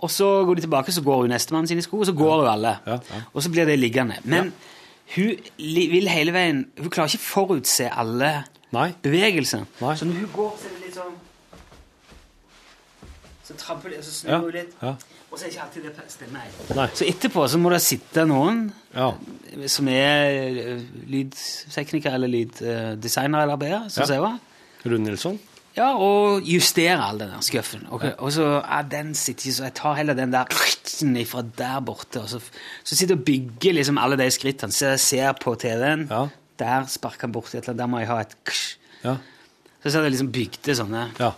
Speaker 2: og så går de tilbake, så går hun nestemann sine sko, og så går hun alle.
Speaker 4: Ja, ja.
Speaker 2: Og så blir det liggende. Men hun li- vil hele veien Hun klarer ikke forutse alle
Speaker 4: Nei.
Speaker 2: bevegelsene.
Speaker 4: Nei.
Speaker 2: Så når hun går, så er det litt sånn Så tramper de, og så snur
Speaker 4: Ja.
Speaker 2: hun litt.
Speaker 4: ja.
Speaker 2: Og så er ikke alltid det stemmer.
Speaker 4: Nei.
Speaker 2: Så etterpå så må det sitte noen
Speaker 4: Ja.
Speaker 2: som er eh, lydtekniker eller lyddesigner eller arbeider, som
Speaker 4: Ja.
Speaker 2: sier hva?
Speaker 4: Rune Nilsson?
Speaker 2: Ja, og justere all den der skuffen. Ok, Og så ja, den sitter ikke så Jeg tar heller den der fra der borte. Og så, så sitter jeg og bygger liksom alle de skrittene. Så jeg ser på TV-en.
Speaker 4: Ja.
Speaker 2: Der sparker han borti et eller annet. Der må jeg ha et ksh.
Speaker 4: Ja.
Speaker 2: Så satt jeg liksom bygde sånne.
Speaker 4: Ja.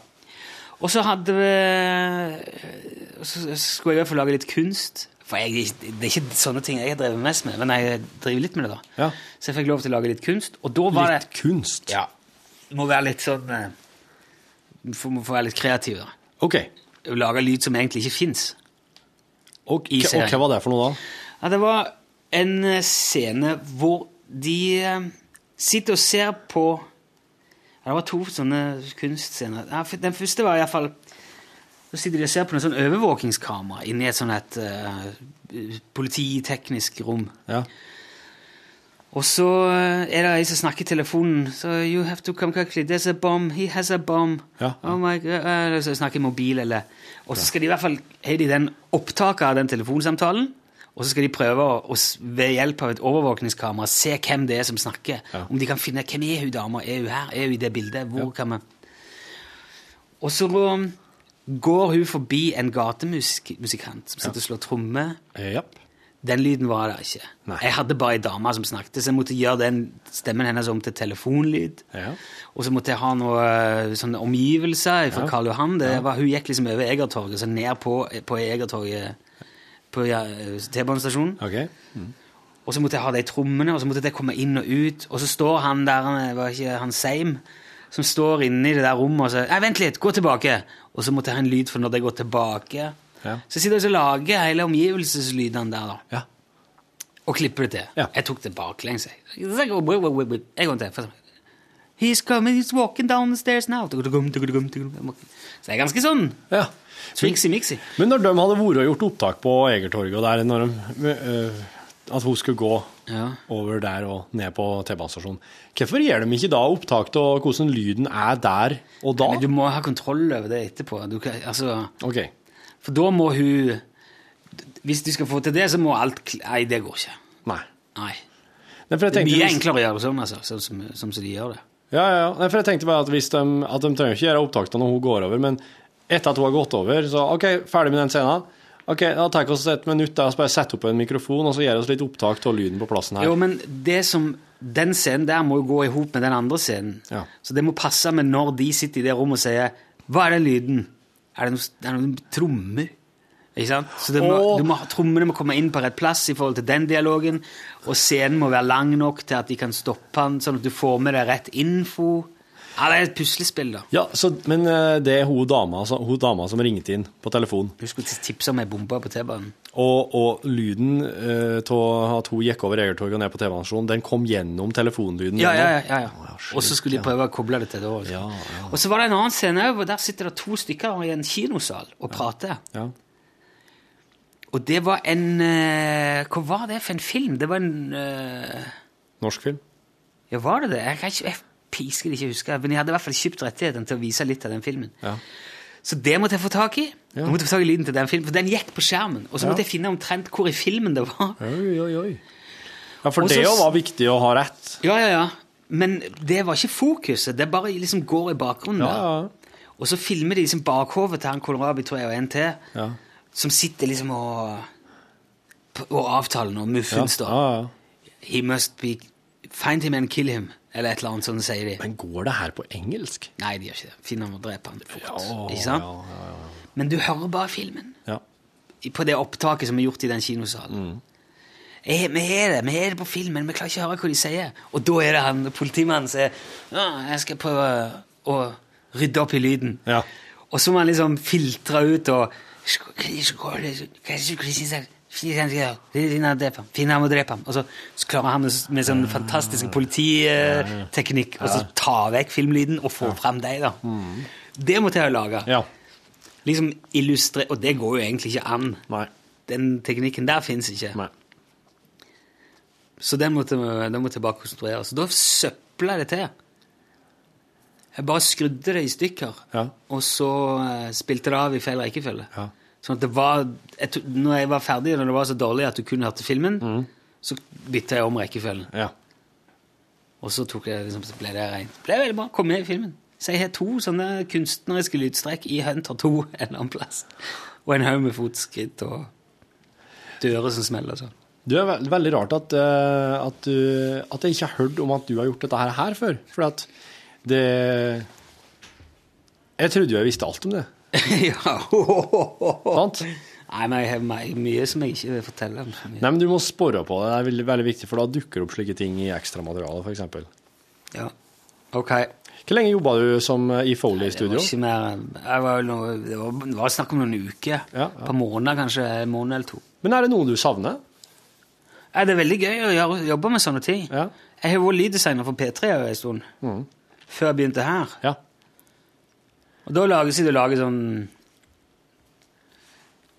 Speaker 2: Og så hadde vi og Så skulle jeg i hvert fall lage litt kunst. For jeg, det er ikke sånne ting jeg har drevet mest med, men jeg driver litt med det, da.
Speaker 4: Ja.
Speaker 2: Så jeg fikk lov til å lage litt kunst. Og da var
Speaker 4: Litt kunst.
Speaker 2: det Ja. Må være litt sånn eh, Får må få være litt kreativ, da.
Speaker 4: Ok.
Speaker 2: Å lage lyd som egentlig ikke fins.
Speaker 4: Og,
Speaker 2: I
Speaker 4: og
Speaker 2: serien.
Speaker 4: hva var det for noe da?
Speaker 2: Ja, det var en eh, scene hvor de eh, sitter og ser på ja, Det var to sånne kunstscener. Ja, f- Den første var iallfall Da sitter de og ser på noe sånn overvåkingskamera inni et sånn et eh, polititeknisk rom.
Speaker 4: Ja.
Speaker 2: Og så eh, er det ei som snakker i telefonen. So you have to come quickly. There's a bomb. He has a bomb.
Speaker 4: Ja, ja.
Speaker 2: Oh my God. eh, Eller så snakker i mobil, eller Og så skal de i hvert fall har de den opptaket av den telefonsamtalen. Og så skal de prøve å, å s- ved hjelp av et overvåkningskamera se hvem det er som snakker.
Speaker 4: Ja.
Speaker 2: Om de kan finne hvem er hun dama, er hun her, er hun i det bildet, hvor kan man Og så um, går hun forbi en gatemusikant som sitter og slår tromme.
Speaker 4: Eh, Ja.
Speaker 2: Den lyden var der ikke. Jeg hadde bare ei dame som snakket, så jeg måtte gjøre den stemmen hennes om til telefonlyd.
Speaker 4: Eh,
Speaker 2: Og så måtte jeg ha noe eh, sånne omgivelser fra
Speaker 10: Ja.
Speaker 2: Karl Johan. Det var, hun gikk liksom over Egertorget, så ned på, på Egertorget på ja, eh, T-banestasjonen. Og så måtte jeg ha de trommene, og så måtte jeg komme inn og ut. Og så står han der, han eh, var ikke han Seim, som står inne i det der rommet og sier Nei, vent litt, gå tilbake! Og så måtte jeg ha en lyd for når de går tilbake. Så jeg sitter jeg og så lager jeg hele omgivelseslydene der, da. Og klipper det til. Jeg tok det baklengs. jeg. En gang til. for- He's coming, he's walking down the stairs now. Så det er ganske sånn
Speaker 4: ja.
Speaker 2: tricksy-mixy.
Speaker 4: Men når de hadde vært og gjort opptak på Egertorget der, når de, eh, at hun skulle gå over der og ned på T-banestasjonen, hvorfor gjør de ikke da opptak av hvordan lyden er der og da?
Speaker 2: Men du må ha kontroll over det etterpå. Du kan, altså,
Speaker 4: Ok.
Speaker 2: For da må hun Hvis du skal få til det, så må alt kl- Nei, det går ikke.
Speaker 4: Nei.
Speaker 2: Nei.
Speaker 4: Nei, for jeg
Speaker 2: det er
Speaker 4: tenkte
Speaker 2: mye
Speaker 4: hvis-
Speaker 2: enklere å gjøre det sånn, altså, sånn som, sånn som de gjør det.
Speaker 4: Ja, ja, ja. Nei, for jeg tenkte bare at, hvis de, at de trenger ikke gjøre opptak da når hun går over, men etter at hun har gått over, så OK, ferdig med den scenen. Ok, da tar vi oss et minutt der og så bare setter opp en mikrofon og så gjør oss litt opptak av lyden på plassen her.
Speaker 2: Jo, men det som, Den scenen der må jo gå i hop med den andre scenen. Så det må passe med når de sitter i det rommet og sier Hva er den lyden? Er det noen, er det noen trommer? Ikke sant? Så det må,
Speaker 10: Åh.
Speaker 2: du må, trommene må komme inn på rett plass i forhold til den dialogen. Og scenen må være lang nok til at de kan stoppe den, sånn at du får med deg rett info. Ja, det er et puslespill, da.
Speaker 4: Ja, så, men eh, det er hun dama, som- hun dama som ringte inn på telefon.
Speaker 2: Du skulle tipse om ei bombe på T-banen.
Speaker 4: Og, og lyden eh, av at hun gikk over Egertorget og ned på TV-stasjonen, den kom gjennom telefonlyden.
Speaker 2: Ja, ja, ja,
Speaker 4: gjennom.
Speaker 2: ja, ja. Og så skulle de prøve å koble det til det òg. Og så var det en annen scene òg, hvor der sitter det to stykker i en kinosal og prater.
Speaker 4: Ja.
Speaker 2: Og det var en eh, Hva var det for en film? Det var en eh,
Speaker 4: Norsk film.
Speaker 2: Ja, var det det? Jeg kan ikke jeg pisker ikke huske, men jeg hadde i hvert fall kjøpt rettigheten til å vise litt av den filmen.
Speaker 4: Ja.
Speaker 2: Så det måtte jeg få tak i.
Speaker 4: Ja.
Speaker 2: Jeg måtte få tak i lyden til den filmen, For den gikk på skjermen. Og så
Speaker 4: Ja.
Speaker 2: måtte jeg finne omtrent hvor i filmen det var.
Speaker 4: Oi, oi, oi. Ja, for
Speaker 2: Og
Speaker 4: det
Speaker 2: så-
Speaker 4: jo var viktig å ha rett.
Speaker 2: Ja, ja, ja. Men det var ikke fokuset. Det bare liksom går i bakgrunnen.
Speaker 4: Ja,
Speaker 2: der. Og så filmer de liksom bakhovet til han Kålrabi, tror jeg, og en til,
Speaker 4: Ja.
Speaker 2: som sitter liksom og Og avtalen og muffens,
Speaker 4: Ja,
Speaker 2: da. He must be Find him and kill him, eller et eller annet sånt, sier de.
Speaker 4: Men går det her på engelsk?
Speaker 2: Nei, de gjør ikke det. Finn ham og drep ham fort.
Speaker 4: Ja,
Speaker 2: ikke sant?
Speaker 4: ja, ja, ja.
Speaker 2: Men du hører bare filmen.
Speaker 4: Ja.
Speaker 2: I- På det opptaket som er gjort i den kinosalen. Eh, Vi har det vi har det på filmen, vi klarer ikke å høre hva de sier. Og da er det han politimannen som sier ja, 'Jeg skal prøve å rydde opp i lyden'. Og så må han liksom filtre ut og Finne ham og drepe ham. Og så, så klarer han med, med sånn fantastisk polititeknikk å ta vekk filmlyden og få fram deg, da. Det måtte jeg jo lage. Liksom illustre, Og det går jo egentlig ikke an. Den teknikken der fins ikke. Så den måtte, den måtte jeg bare konstruere. Så da søpla jeg det til. Jeg bare skrudde det i stykker, og så eh, spilte det av i feil rekkefølge. Sånn at det var, jeg, to- Når jeg var ferdig, når det var så dårlig at du kun hørte filmen, så bytta jeg om rekkefølgen. Og så tok jeg, liksom, så ble det reint. Det ble veldig bra. Kom med i filmen. Så jeg har to sånne kunstneriske lydstrekk i Hunter 2 en eller annen plass. Og en haug med fotskritt og dører som smeller og sånn.
Speaker 4: Det er ve- veldig rart at, eh, at, du, at jeg ikke har hørt om at du har gjort dette her, her før. For at det Jeg trodde jo jeg visste alt om det.
Speaker 2: ja.
Speaker 4: Sant?
Speaker 2: Nei, men jeg har my- mye som jeg ikke vil fortelle om. så mye.
Speaker 4: Nei, men du må spore på det. Det er veldig, veldig viktig, for da dukker opp slike ting i ekstramaterialet, f.eks.
Speaker 2: Ja. Ok.
Speaker 4: Hvor lenge jobba du som eh, i Foley-studio?
Speaker 2: Ikke mer, jeg var, jo noe, det, var, det var snakk om noen uker. Et par måneder, kanskje. En måned eller to.
Speaker 4: Men er det noe du savner?
Speaker 2: Ja, det er veldig gøy å gjøre, jobbe med sånne ting. Jeg har vært lyddesigner for P3 en stund. Før jeg begynte her. Og da lager sitter du og lager sånn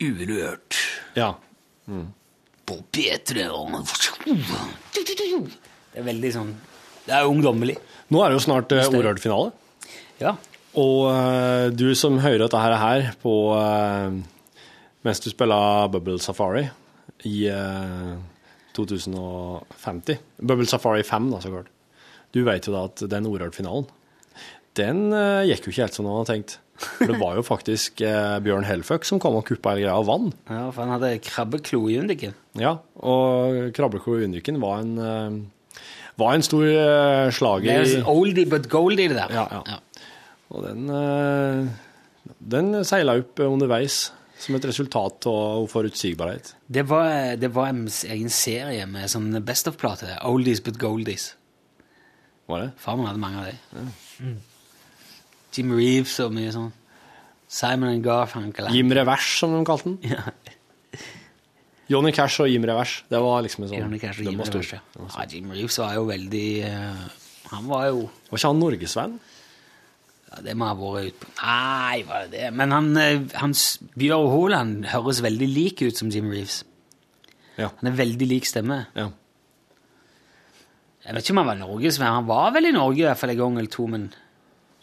Speaker 2: Urørt.
Speaker 4: Ja.
Speaker 2: På P3 og Det er veldig sånn Det er ungdommelig.
Speaker 4: Nå er det jo snart eh, Orørt-finale.
Speaker 2: Ja.
Speaker 4: Og eh, du som hører dette her, her på eh, Mens du spiller Bubble Safari i eh, 2050 Bubble Safari 5, da, så klart. Du vet jo da at den Orørt-finalen, den eh, gikk jo ikke helt som man hadde tenkt. For det var jo faktisk eh, Bjørn Hellfuck som kom og kuppa hele greia av vann.
Speaker 2: Ja, for han hadde krabbeklo i undiken.
Speaker 4: Ja, og Krabbeklo i Undiken var en, eh, var en stor eh,
Speaker 2: Det
Speaker 4: slager.
Speaker 2: er
Speaker 4: i-
Speaker 2: sånn oldie but goldie, det der.
Speaker 4: Ja, ja. Og den, eh, den seila opp underveis som et resultat av forutsigbarhet.
Speaker 2: Det var, det var en s- egen serie med sånn Best of-plate. Oldies but goldies.
Speaker 4: Var det?
Speaker 2: Far min hadde mange av de. Mm. Jim Reeves og mye sånn. Simon and Garfunkel.
Speaker 4: Jim Revers, som de kalte den.
Speaker 2: Ja.
Speaker 4: Johnny Cash og Jim Revers. Det var liksom en sånn
Speaker 2: Johnny Cash og
Speaker 4: den
Speaker 2: Jim
Speaker 4: var stor.
Speaker 2: Revers, ja. ja, Jim Reeves var jo veldig eh, Han var jo
Speaker 4: Var ikke han norgesvenn?
Speaker 2: ja, Det må ha vært utpå Nei, var det det? Men han, eh, han s- Bjørn Haaland høres veldig lik ut som Jim Reeves.
Speaker 4: Ja.
Speaker 2: Han er veldig lik stemme.
Speaker 4: Ja.
Speaker 2: Jeg vet ikke om han var norgesvenn. Han var vel i Norge i hvert fall en gang eller to, men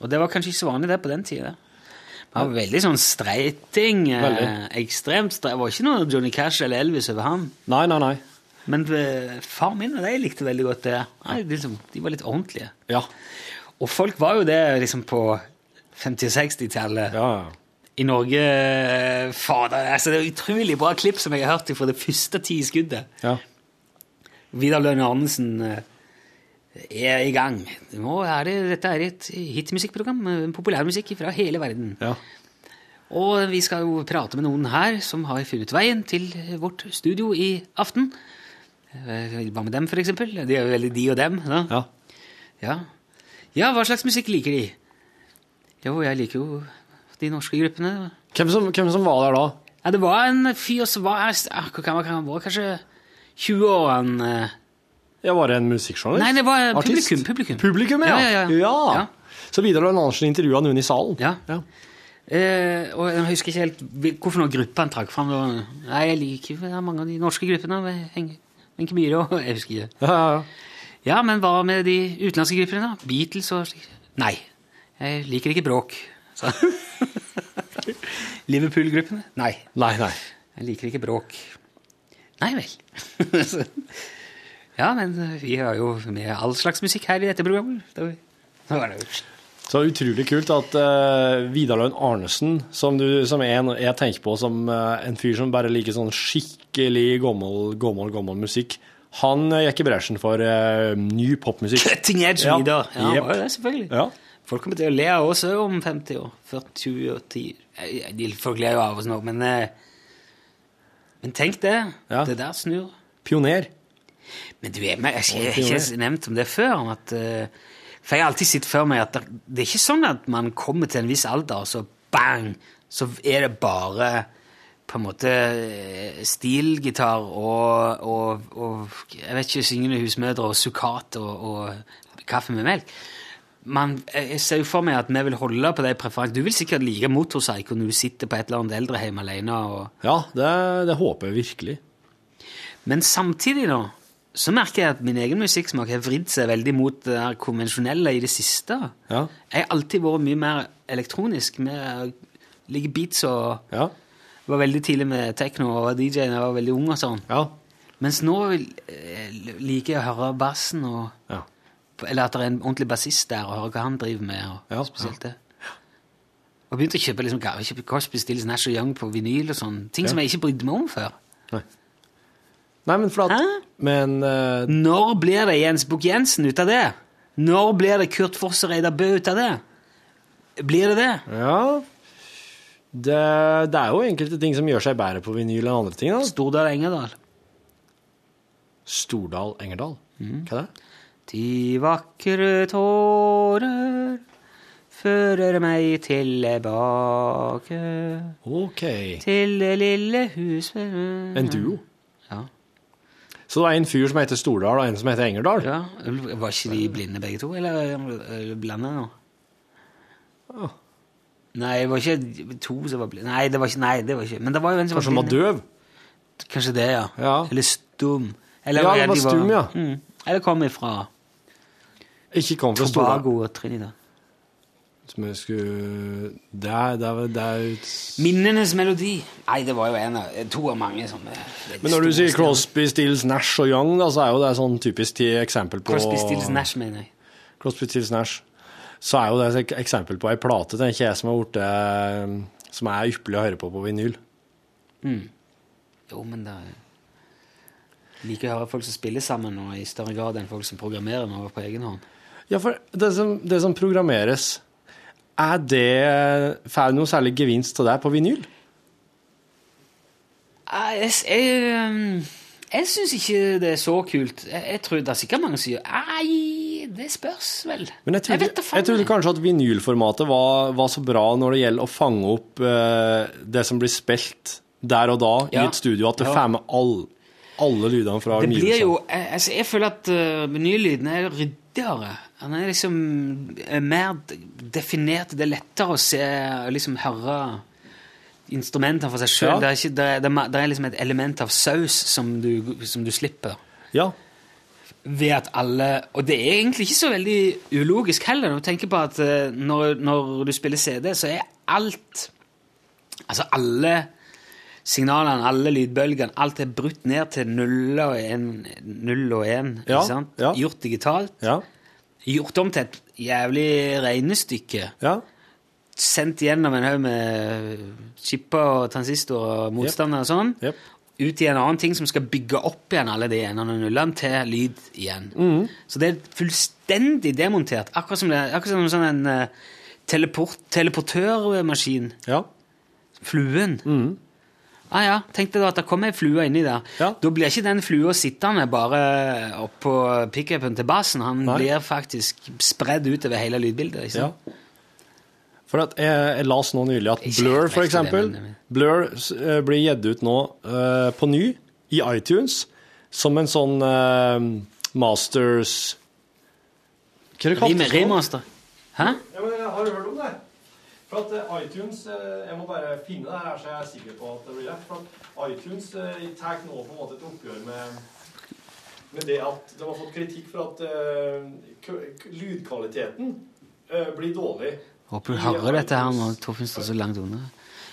Speaker 2: Og det var kanskje ikke så vanlig det på den tida. Men Han var veldig sånn streiting. eh,
Speaker 4: Veldig.
Speaker 2: Ekstremt streit. Det var ikke noe Johnny Cash eller Elvis over han.
Speaker 4: Nei, nei, nei.
Speaker 2: Men eh, far min og de likte veldig godt det. Nei, de, liksom, de var litt ordentlige.
Speaker 4: Ja.
Speaker 2: Og folk var jo det liksom på 50-60-tallet.
Speaker 4: ja, ja.
Speaker 2: I Norge eh, Fader, altså, det er utrolig bra klipp som jeg har hørt fra det første ti skuddet.
Speaker 4: Ja.
Speaker 2: Vidar Lønne Arnesen eh, er i gang. Nå er det, dette er et hitmusikkprogram med populærmusikk fra hele verden.
Speaker 4: Ja.
Speaker 2: Og vi skal jo prate med noen her som har funnet veien til vårt studio i aften. Eh, Hva med dem, for eksempel? De er jo veldig de og dem. Da.
Speaker 4: Ja.
Speaker 2: Ja. ja, hva slags musikk liker de? Jo, jeg liker jo de norske gruppene.
Speaker 4: Hvem, som, hvem som var der da?
Speaker 2: Ja, det var en fyr som var ah, Hvor gammel kan han være? Kanskje 20 år? Han, eh,
Speaker 4: Ja, Var det en musikkjournalist?
Speaker 2: Nei, det var
Speaker 4: Artist?
Speaker 2: publikum, publikum.
Speaker 4: Publikum, ja.
Speaker 2: Ja, ja, ja. Ja.
Speaker 4: Så Vidar Lønn Andersen intervjua noen i salen.
Speaker 2: ja. Eh, og jeg husker ikke helt hvil- hvorfor noen gruppe han trakk fram. Det var- Nei, jeg liker vel mange av de norske gruppene. men Henke- Wenche Myhre og Jeg husker ikke.
Speaker 4: Ja, ja, ja.
Speaker 2: Ja, men hva med de utenlandske gruppene, da? Beatles og slik? Nei, jeg liker ikke bråk. sa han. Liverpool-gruppene? Nei,
Speaker 4: Nei, nei.
Speaker 2: jeg liker ikke bråk. Nei vel. Så- ja, men vi har jo med all slags musikk her i dette programmet. Da- da var det jo-
Speaker 4: Så utrolig kult at eh, Vidar Lønn Arnesen, som, du, som er en, jeg tenker på som eh, en fyr som bare liker sånn skikkelig gammel, gammel, gammel musikk, han eh, gikk i bresjen for eh, ny popmusikk.
Speaker 2: Cutting edge
Speaker 4: Ja.
Speaker 2: Vidar. Ja, han
Speaker 4: Jep.
Speaker 2: var jo det, selvfølgelig.
Speaker 4: Ja.
Speaker 2: Folk kommer til å le av oss også om 50 år. 40 og 10 Eh, de- Folk ler jo av oss nå, men, eh, men tenk det.
Speaker 4: Ja.
Speaker 2: Det der snur.
Speaker 4: Pioner.
Speaker 2: Men du, jeg, men jeg, jeg, jeg har ikke nevnt om det før. om At, eh, for jeg har alltid sett for meg at det, det er ikke sånn at man kommer til en viss alder, og så bang, så er det bare på en måte eh, stilgitar og, og, og jeg vet ikke, syngende husmødre og sukkat og, og kaffe med melk. Man, jeg jeg ser jo for meg at vi vil holde på de preferansene. Du vil sikkert like motorcycle når du sitter på et eller annet eldrehjem alene og
Speaker 4: Ja, det, det håper jeg virkelig.
Speaker 2: men samtidig da, så merker jeg at min egen musikksmak har vridd seg veldig mot det der konvensjonelle i det siste.
Speaker 4: Ja.
Speaker 2: Jeg har alltid vært mye mer elektronisk, med like beats og
Speaker 4: Ja.
Speaker 2: var veldig tidlig med techno og var DJ da jeg var veldig ung og sånn.
Speaker 4: Ja.
Speaker 2: Mens nå eh, liker jeg å høre bassen og
Speaker 4: Ja.
Speaker 2: Eller at det er en ordentlig bassist der, og høre hva han driver med. og
Speaker 4: Ja,
Speaker 2: spesielt det. Og begynte å kjøpe liksom, ga- kjøpe Cosby, Stills, Nash og Young på vinyl og sånn. Ting som jeg ikke brydde meg om før.
Speaker 4: Nei, men for at
Speaker 2: Hæ?
Speaker 4: Men eh,
Speaker 2: Når blir det Jens Bukk Jensen ut av det? Når blir det Kurt Foss og Reidar Bø ut av det? Blir det det?
Speaker 4: Ja det, det er jo enkelte ting som gjør seg bedre på vinyl enn andre ting. da.
Speaker 2: Stordal Engerdal.
Speaker 4: Stordal Engerdal. Hva er det?
Speaker 2: De vakre tårer fører meg tilbake
Speaker 4: OK.
Speaker 2: til det lille huset
Speaker 4: En duo.
Speaker 2: Mhm. Ja.
Speaker 4: Så det er en fyr som heter Stordal, og en som heter Engerdal?
Speaker 2: ja. Var ikke de blinde begge to, eller eh, blanda nå? Nei, det var ikke to som var blinde. Nei, det var ikke, nei, det var ikke. Men det var jo en som
Speaker 4: Kanskje han
Speaker 2: var
Speaker 4: var
Speaker 2: blind.
Speaker 4: døv?
Speaker 2: Kanskje det, ja.
Speaker 4: Ja.
Speaker 2: Eller stum.
Speaker 4: Ja,
Speaker 2: hva
Speaker 4: det
Speaker 2: er
Speaker 4: var
Speaker 2: de
Speaker 4: stum, ja.
Speaker 2: Mm. Eller kom ifra
Speaker 4: Ikke kom fra Stordal.
Speaker 2: Tobago og Trinidad.
Speaker 4: Som jeg skulle Det er, det er, det er ut-
Speaker 2: Minnenes melodi. Nei, det var jo en av to av mange sånne. veldig
Speaker 4: Men når
Speaker 2: store
Speaker 4: du sier Crosby, Stills, Nash og Young, da, så er jo det sånn typisk til eksempel på
Speaker 2: Crosby Stills Nash, mener jeg.
Speaker 4: Crosby, Stills, Nash. så er jo det et eksempel på ei plate, tenker jeg, som er, borte, som er ypperlig å høre på på vinyl.
Speaker 2: Mm. Jo, men det er Liker å høre folk som spiller sammen, og i større grad enn folk som programmerer noe på egen hånd.
Speaker 4: Ja, for det som, det som programmeres, er det Får du noe særlig gevinst av det på vinyl?
Speaker 2: Ah, Jeg, jeg, um, jeg syns ikke det er så kult. Jeg, jeg tror det er sikkert mange som gjør Nei, det spørs vel.
Speaker 4: Men jeg trodde,
Speaker 2: vet da
Speaker 4: jeg
Speaker 2: faen,
Speaker 4: trodde kanskje at vinylformatet var, var så bra når det gjelder å fange opp eh, det som blir spilt der og da i
Speaker 2: Ja.
Speaker 4: et studio, at det
Speaker 2: Ja.
Speaker 4: får med all, alle lydene fra
Speaker 2: Det blir
Speaker 4: omgivelsene.
Speaker 2: jo Jeg, altså, jeg føler at uh, menylyden er ryddigere. Den er liksom eh, mer d- definert. Det er lettere å se og liksom høre instrumentene for seg sjøl.
Speaker 4: Ja.
Speaker 2: Det, er ikke- det, er- det, er ma- det er liksom et element av saus som du, som du slipper.
Speaker 4: Ja.
Speaker 2: Ved at alle Og det er egentlig ikke så veldig ulogisk heller, når du tenker på at eh, når, når du spiller CD, så er alt Altså alle signalene, alle lydbølgene, alt er brutt ned til null og en, null og en
Speaker 4: Ja,
Speaker 2: ikke sant?
Speaker 4: ja.
Speaker 2: Gjort digitalt. Gjort om til et jævlig regnestykke. Sendt gjennom en haug med chipper og transistorer og motstandere og sånn. Ut i en annen ting som skal bygge opp igjen alle de enene og nullene til lyd igjen.
Speaker 4: Mhm.
Speaker 2: Så det er fullstendig demontert. Akkurat som, det, akkurat som en sånn en eh, teleport, teleportørmaskin. Fluen.
Speaker 4: Mhm.
Speaker 2: Ah ja, tenkte du at det kom ei flue inni der. Da blir ikke den flua sittende bare oppå pickupen til basen. Han
Speaker 4: Nei.
Speaker 2: blir faktisk spredd utover hele lydbildet. liksom. Ikke sant?
Speaker 4: For at jeg, jeg las nå nylig at
Speaker 2: Ikke
Speaker 4: Blur,
Speaker 2: helt
Speaker 4: for
Speaker 2: vet det,
Speaker 4: eksempel,
Speaker 2: men-
Speaker 4: Blur s- eh, blir gitt ut nå eh, på ny i iTunes som en sånn eh, Masters Hva er det kalt?
Speaker 2: Rem- Remaster. Hæ?
Speaker 4: Ja, men Har du hørt om det? For at eh, iTunes eh, Jeg må bare finne det her, så jeg er sikker på at det blir rett. For at iTunes eh, tar nå på en måte et oppgjør med med det at de har fått kritikk for at eh, k- k- lydkvaliteten eh, blir dårlig.
Speaker 2: Håper du
Speaker 4: i
Speaker 2: hører dette her
Speaker 4: iTunes.
Speaker 2: når Torfinn står så langt unna.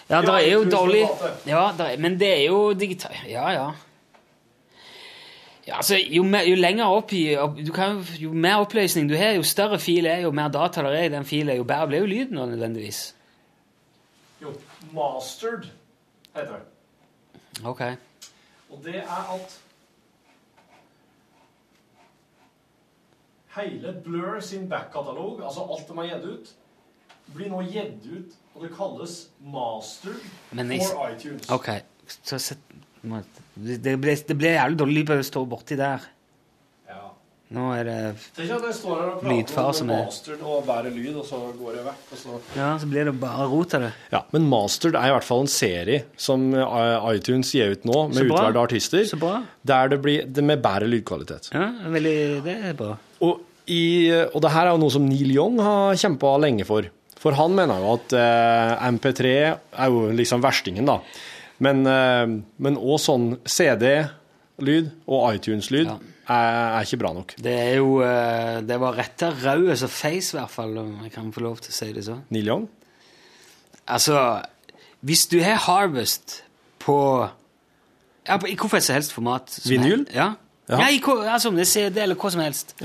Speaker 2: Ja,
Speaker 4: Ja,
Speaker 2: det er jo
Speaker 4: iTunes
Speaker 2: dårlig
Speaker 4: formatet.
Speaker 2: ja, der er, Men det er jo digital... Ja, ja. ja altså, jo, mer, jo lenger opp i opp, du kan, jo- Jo mer oppløsning du har, jo større fil er, jo mer data der er i den filen, jo bedre blir jo lyden da, nødvendigvis.
Speaker 4: Jo, mastered heter det.
Speaker 2: Ok.
Speaker 4: Og det er at hele Blur sin backkatalog, altså alt de har gitt ut, blir nå gitt ut, og det kalles mastered
Speaker 2: Men jeg,
Speaker 4: for iTunes.
Speaker 2: Ok. Så sett må- Det det ble, det ble jævlig dårlig lyd bare å stå borti der.
Speaker 4: Ja.
Speaker 2: Nå er det
Speaker 4: Tenk at jeg står her og
Speaker 2: Lydfar
Speaker 4: prater
Speaker 2: som
Speaker 4: om
Speaker 2: er-
Speaker 4: mastered og bare lyd, og så går jeg vekk, og så
Speaker 2: Ja, så blir det bare rot av det.
Speaker 4: Ja, men Mastered er i hvert fall en serie som eh, iTunes gir ut nå, med
Speaker 2: Så bra.
Speaker 4: utvalgte artister, der det blir det med bedre lydkvalitet.
Speaker 2: Ja, veldig, det er bra.
Speaker 4: Og, i, og det her er jo noe som Neil Young har kjempa lenge for. For han mener jo at eh, MP3 er jo liksom verstingen, da. Men, eh, men òg sånn CD-lyd og iTunes-lyd er, er ikke bra nok.
Speaker 2: Det er jo eh, Det var rette rauet som feis, i hvert fall, om jeg kan få lov til å si det sånn.
Speaker 4: Neil Young?
Speaker 2: Altså, hvis du har Harvest på ja, på, I hvilket som helst format som
Speaker 4: Vinyl?
Speaker 2: hel- Ja.
Speaker 4: Ja.
Speaker 2: Nei, hva, altså om det er CD eller hva som helst.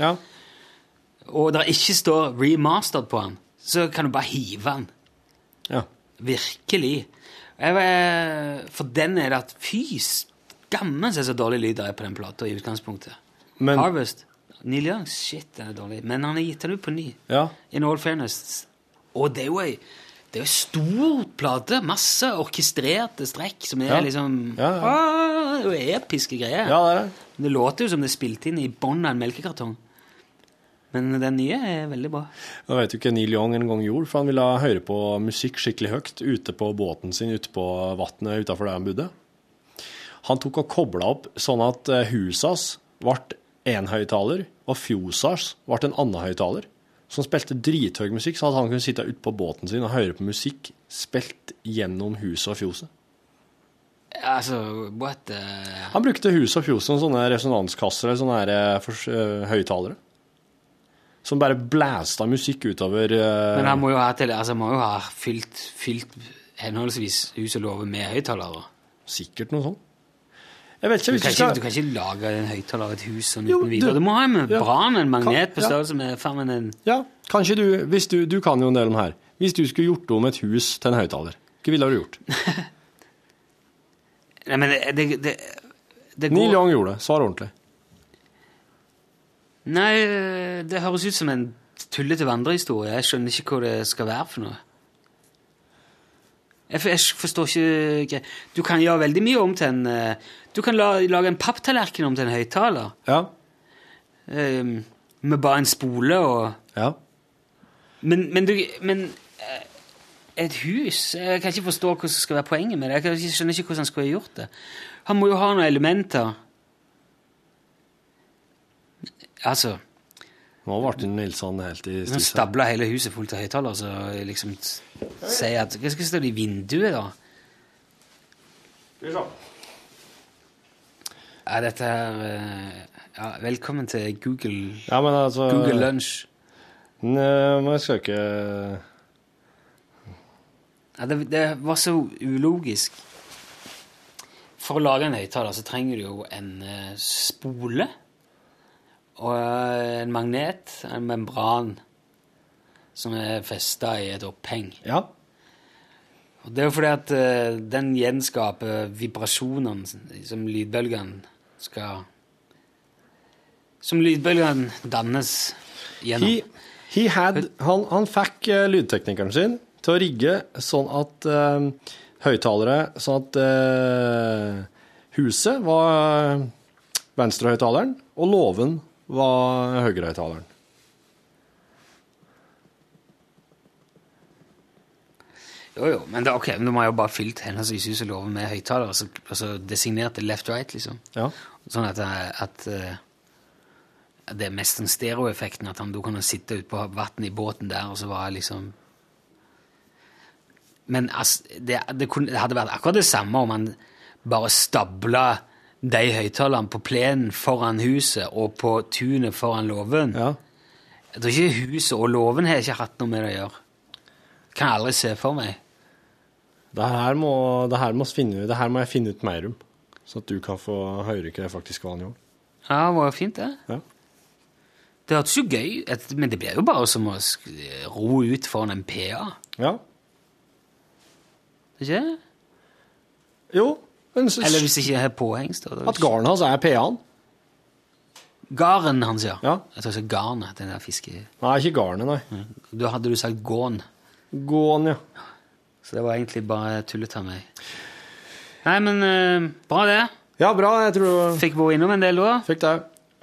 Speaker 2: Og det ikke står 'remastered' på den, så kan du bare hive den.
Speaker 4: Ja.
Speaker 2: Virkelig. Jeg, var- eh, for den er det at Fy skammen seg så dårlig lyd det er på den plata i utgangspunktet.
Speaker 4: Men-
Speaker 2: Harvest. Neil Young, shit, den er dårlig. Men han har gitt den ut på ny.
Speaker 4: Ja.
Speaker 2: In all fairness. Og det er jo ei det er jo ei stor plate. Masse orkestrerte strekk som er
Speaker 4: Ja.
Speaker 2: liksom
Speaker 4: Ja, ja.
Speaker 2: Ah, det er jo episke greier.
Speaker 4: Ja, det er det.
Speaker 2: Men det låter jo som det er spilt inn i bånn av en melkekartong. Men den nye er veldig bra.
Speaker 4: Jeg vet jo ikke Neil Young en gang gjorde, for han ville høre på musikk skikkelig høyt ute på båten sin ute på vannet utafor der han bodde. Han tok og kobla opp sånn at eh, huset hans ble én høyttaler, og fjoset hans ble en annen høyttaler. Så han spilte drithøy musikk, sånn at han kunne sitte ute på båten sin og høre på musikk spilt gjennom huset og fjoset.
Speaker 2: Altså, what the
Speaker 4: Han brukte huset og fjoset som sånne resonanskasser eller sånne her, eh, fors- eh, høyttalere. Som bare blæsta musikk utover eh,
Speaker 2: Men han må jo ha, til, altså, han må jo ha fylt, fylt henholdsvis hus og låve med høyttalere.
Speaker 4: Sikkert noe sånt. Jeg vet ikke
Speaker 2: Du
Speaker 4: hvis
Speaker 2: kan
Speaker 4: du skal
Speaker 2: ikke, du kan ikke lage en høyttaler i et hus sånn
Speaker 4: Jo,
Speaker 2: uten videre.
Speaker 4: du-
Speaker 2: Du må ha en
Speaker 4: ja.
Speaker 2: bran, en magnet
Speaker 4: Kan-
Speaker 2: på
Speaker 4: ja.
Speaker 2: størrelse med farmen en
Speaker 4: Ja, Kanskje du, hvis du, du kan jo en del om her. Hvis du skulle gjort om et hus til en høyttaler, hva ville du gjort?
Speaker 2: Nei, men det, det, det, det går
Speaker 4: Neil Young gjorde det. Svar ordentlig.
Speaker 2: Nei, det høres ut som en tullete vandrehistorie. Jeg skjønner ikke hva det skal være for noe. Jeg, for- jeg forstår ikke hva- Du kan gjøre veldig mye om til en eh, Du kan la, lage en papptallerken om til en høyttaler.
Speaker 4: Ja.
Speaker 2: Ehm, med bare en spole og
Speaker 4: Ja.
Speaker 2: Men, men, du, men eh, et hus Jeg kan ikke forstå hva som skal være poenget med det. Jeg kan ikke- skjønner ikke hvordan han skulle ha gjort det. Han må jo ha noen elementer. Altså
Speaker 4: Nå ble Nilsson helt i
Speaker 2: Han
Speaker 4: stis. her.
Speaker 2: stabla hele huset fullt av høyttalere, så jeg liksom s- sier at Hva skal stå i vinduet, da? Ja, dette her eh, ja, Velkommen til Google
Speaker 4: Ja, men altså
Speaker 2: Google Lunch.
Speaker 4: Nei, men jeg skal ikke
Speaker 2: Ja, det, det var så ulogisk. For å lage en høyttaler så trenger du jo en eh, spole og eh, en magnet, en membran, som er festa i et oppheng.
Speaker 4: Ja.
Speaker 2: Og det er jo fordi at eh, den gjenskaper vibrasjonene som- som lydbølgene skal Som lydbølgene dannes gjennom.
Speaker 4: He, he had, han, han fikk eh, lydteknikeren sin til å rigge sånn at eh, høyttalere Sånn at eh, huset var eh, venstrehøyttaleren, og låven var høyrehøyttaleren.
Speaker 2: Jo, jo, men da, ok, men da må jeg jo bare fylt henholdsvis hus og låve med høyttaler, og så og så designert det left-right, liksom.
Speaker 4: Ja.
Speaker 2: Sånn at, eh, at eh, at det er mest den stereoeffekten, at han da kan han sitte ute på vannet i båten der, og så var jeg liksom Men ass, det, det, kunne, det hadde vært akkurat det samme om han bare stabla de høyttalerne på plenen foran huset og på tunet foran låven. Jeg tror ikke huset og låven har ikke hatt noe med det å gjøre. Kan jeg aldri se for meg.
Speaker 4: Det her, må, det, her må finne, det her må jeg finne ut mer om, så at du kan få høre hva det faktisk var han gjorde.
Speaker 2: Ja, det var jo fint, det.
Speaker 4: Ja.
Speaker 2: Det hørtes jo gøy ut, men det blir jo bare som å sk- eh, ro ut foran en PA.
Speaker 4: Ja.
Speaker 2: Ikke det?
Speaker 4: Jo. men så-
Speaker 2: Eller hvis ikke jeg har påhengst. da.
Speaker 4: At garnet hans er PA-en.
Speaker 2: Garn hans, ja. Jeg tror ikke garnet, den der fiske...
Speaker 4: Nei, ikke garnet, nei.
Speaker 2: Da hadde du sagt gån.
Speaker 4: Gån, ja.
Speaker 2: Så det var egentlig bare tullet av meg. Nei, men eh, bra det.
Speaker 4: Ja, bra, jeg tror...
Speaker 2: Fikk bo innom en del da.
Speaker 4: Fikk det.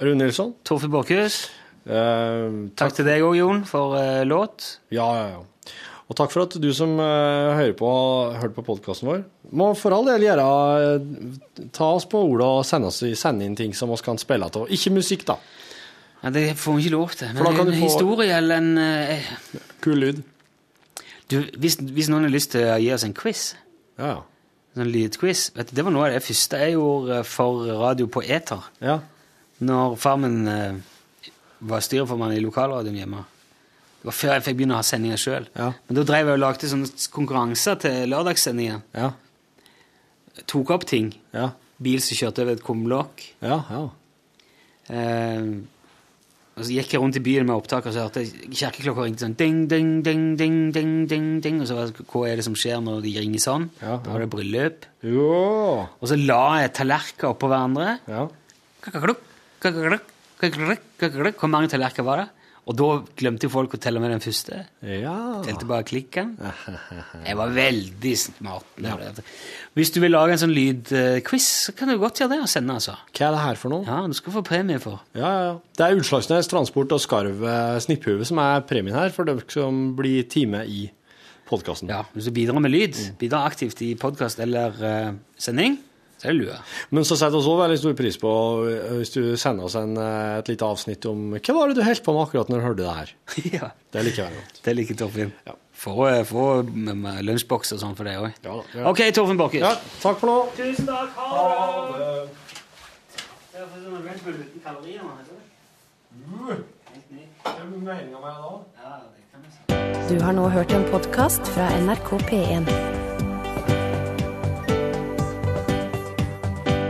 Speaker 4: Rune Nilsson.
Speaker 2: Torfinn Borkhus.
Speaker 4: Eh,
Speaker 2: Takk til deg òg, Jon, for eh, låt.
Speaker 4: Ja, ja, ja. Og takk for at du som eh, hører på, hørte på podkasten vår. Må for all del gjøre eh, Ta oss på ordet og sende, oss, sende inn ting som oss kan spille av. Ikke musikk, da.
Speaker 2: Ja, det får vi ikke lov til.
Speaker 4: For da
Speaker 2: Men
Speaker 4: kan
Speaker 2: en
Speaker 4: du få-
Speaker 2: historie eller en eh,
Speaker 4: Kul lyd.
Speaker 2: Du, hvis, hvis noen har lyst til å gi oss en quiz
Speaker 4: Ja, ja.
Speaker 2: Sånn lydquiz. Vet du, det var noe av det første jeg gjorde for radio på Eter.
Speaker 4: Ja.
Speaker 2: Når far min eh, var styreformann i lokalradioen hjemme. Det var før jeg fikk begynne å ha sendinger sjøl.
Speaker 4: Ja.
Speaker 2: Men da drev jeg og lagde sånne konkurranser til lørdagssendingen.
Speaker 4: Ja.
Speaker 2: Tok opp ting.
Speaker 4: Ja.
Speaker 2: Bil som kjørte over et kumlokk.
Speaker 4: Ja, ja.
Speaker 2: Eh, og så gikk jeg rundt i byen med opptak og så hørte jeg kjerkeklokka ringte sånn ding, ding, ding, ding, ding, ding, ding. Og så var det, hva er det som skjer når de ringer sånn?
Speaker 4: Ja,
Speaker 2: Da var det bryllup.
Speaker 4: Jo.
Speaker 2: Og så la jeg tallerkener oppå hverandre.
Speaker 4: Ja.
Speaker 2: Kakaklukk, kakaklukk, kakaklukk, kakaklukk. Hvor mange tallerkener var det? Og da glemte jo folk å telle med den første.
Speaker 4: Ja.
Speaker 2: Telte bare klikken. Jeg var veldig smart. med det. Hvis du vil lage en sånn lydquiz, så kan du godt gjøre det og sende, altså.
Speaker 4: Hva er det her for noe?
Speaker 2: Ja, du skal få premie for.
Speaker 4: Ja, ja, ja. Det er Utslagsnes Transport og Skarv eh, Snipphue som er premien her, for dere som blir time i podkasten.
Speaker 2: Ja, Mm. hvis du bidrar med lyd, bidrar aktivt i podkast eller eh, sending, så er det lue.
Speaker 4: Men så setter vi også veldig stor pris på eh, hvis du sender oss en, eh, et lite avsnitt om hva var det du holdt på med akkurat når du hørte det her.
Speaker 2: ja,
Speaker 4: Det liker jeg veldig godt.
Speaker 2: det liker Torfinn.
Speaker 4: Ja.
Speaker 2: Få, eh, få med- med lunsjboks og sånn for deg òg.
Speaker 4: Ja, da, ja.
Speaker 2: OK, Torfinn Borchhus.
Speaker 4: Ja, takk for nå.
Speaker 2: Tusen takk. Ha det. Det er sånn Red Bull uten kalorier, man, vet du. Helt ny. Ja, det kan vi si.
Speaker 1: Du har nå hørt en podkast fra NRK P1.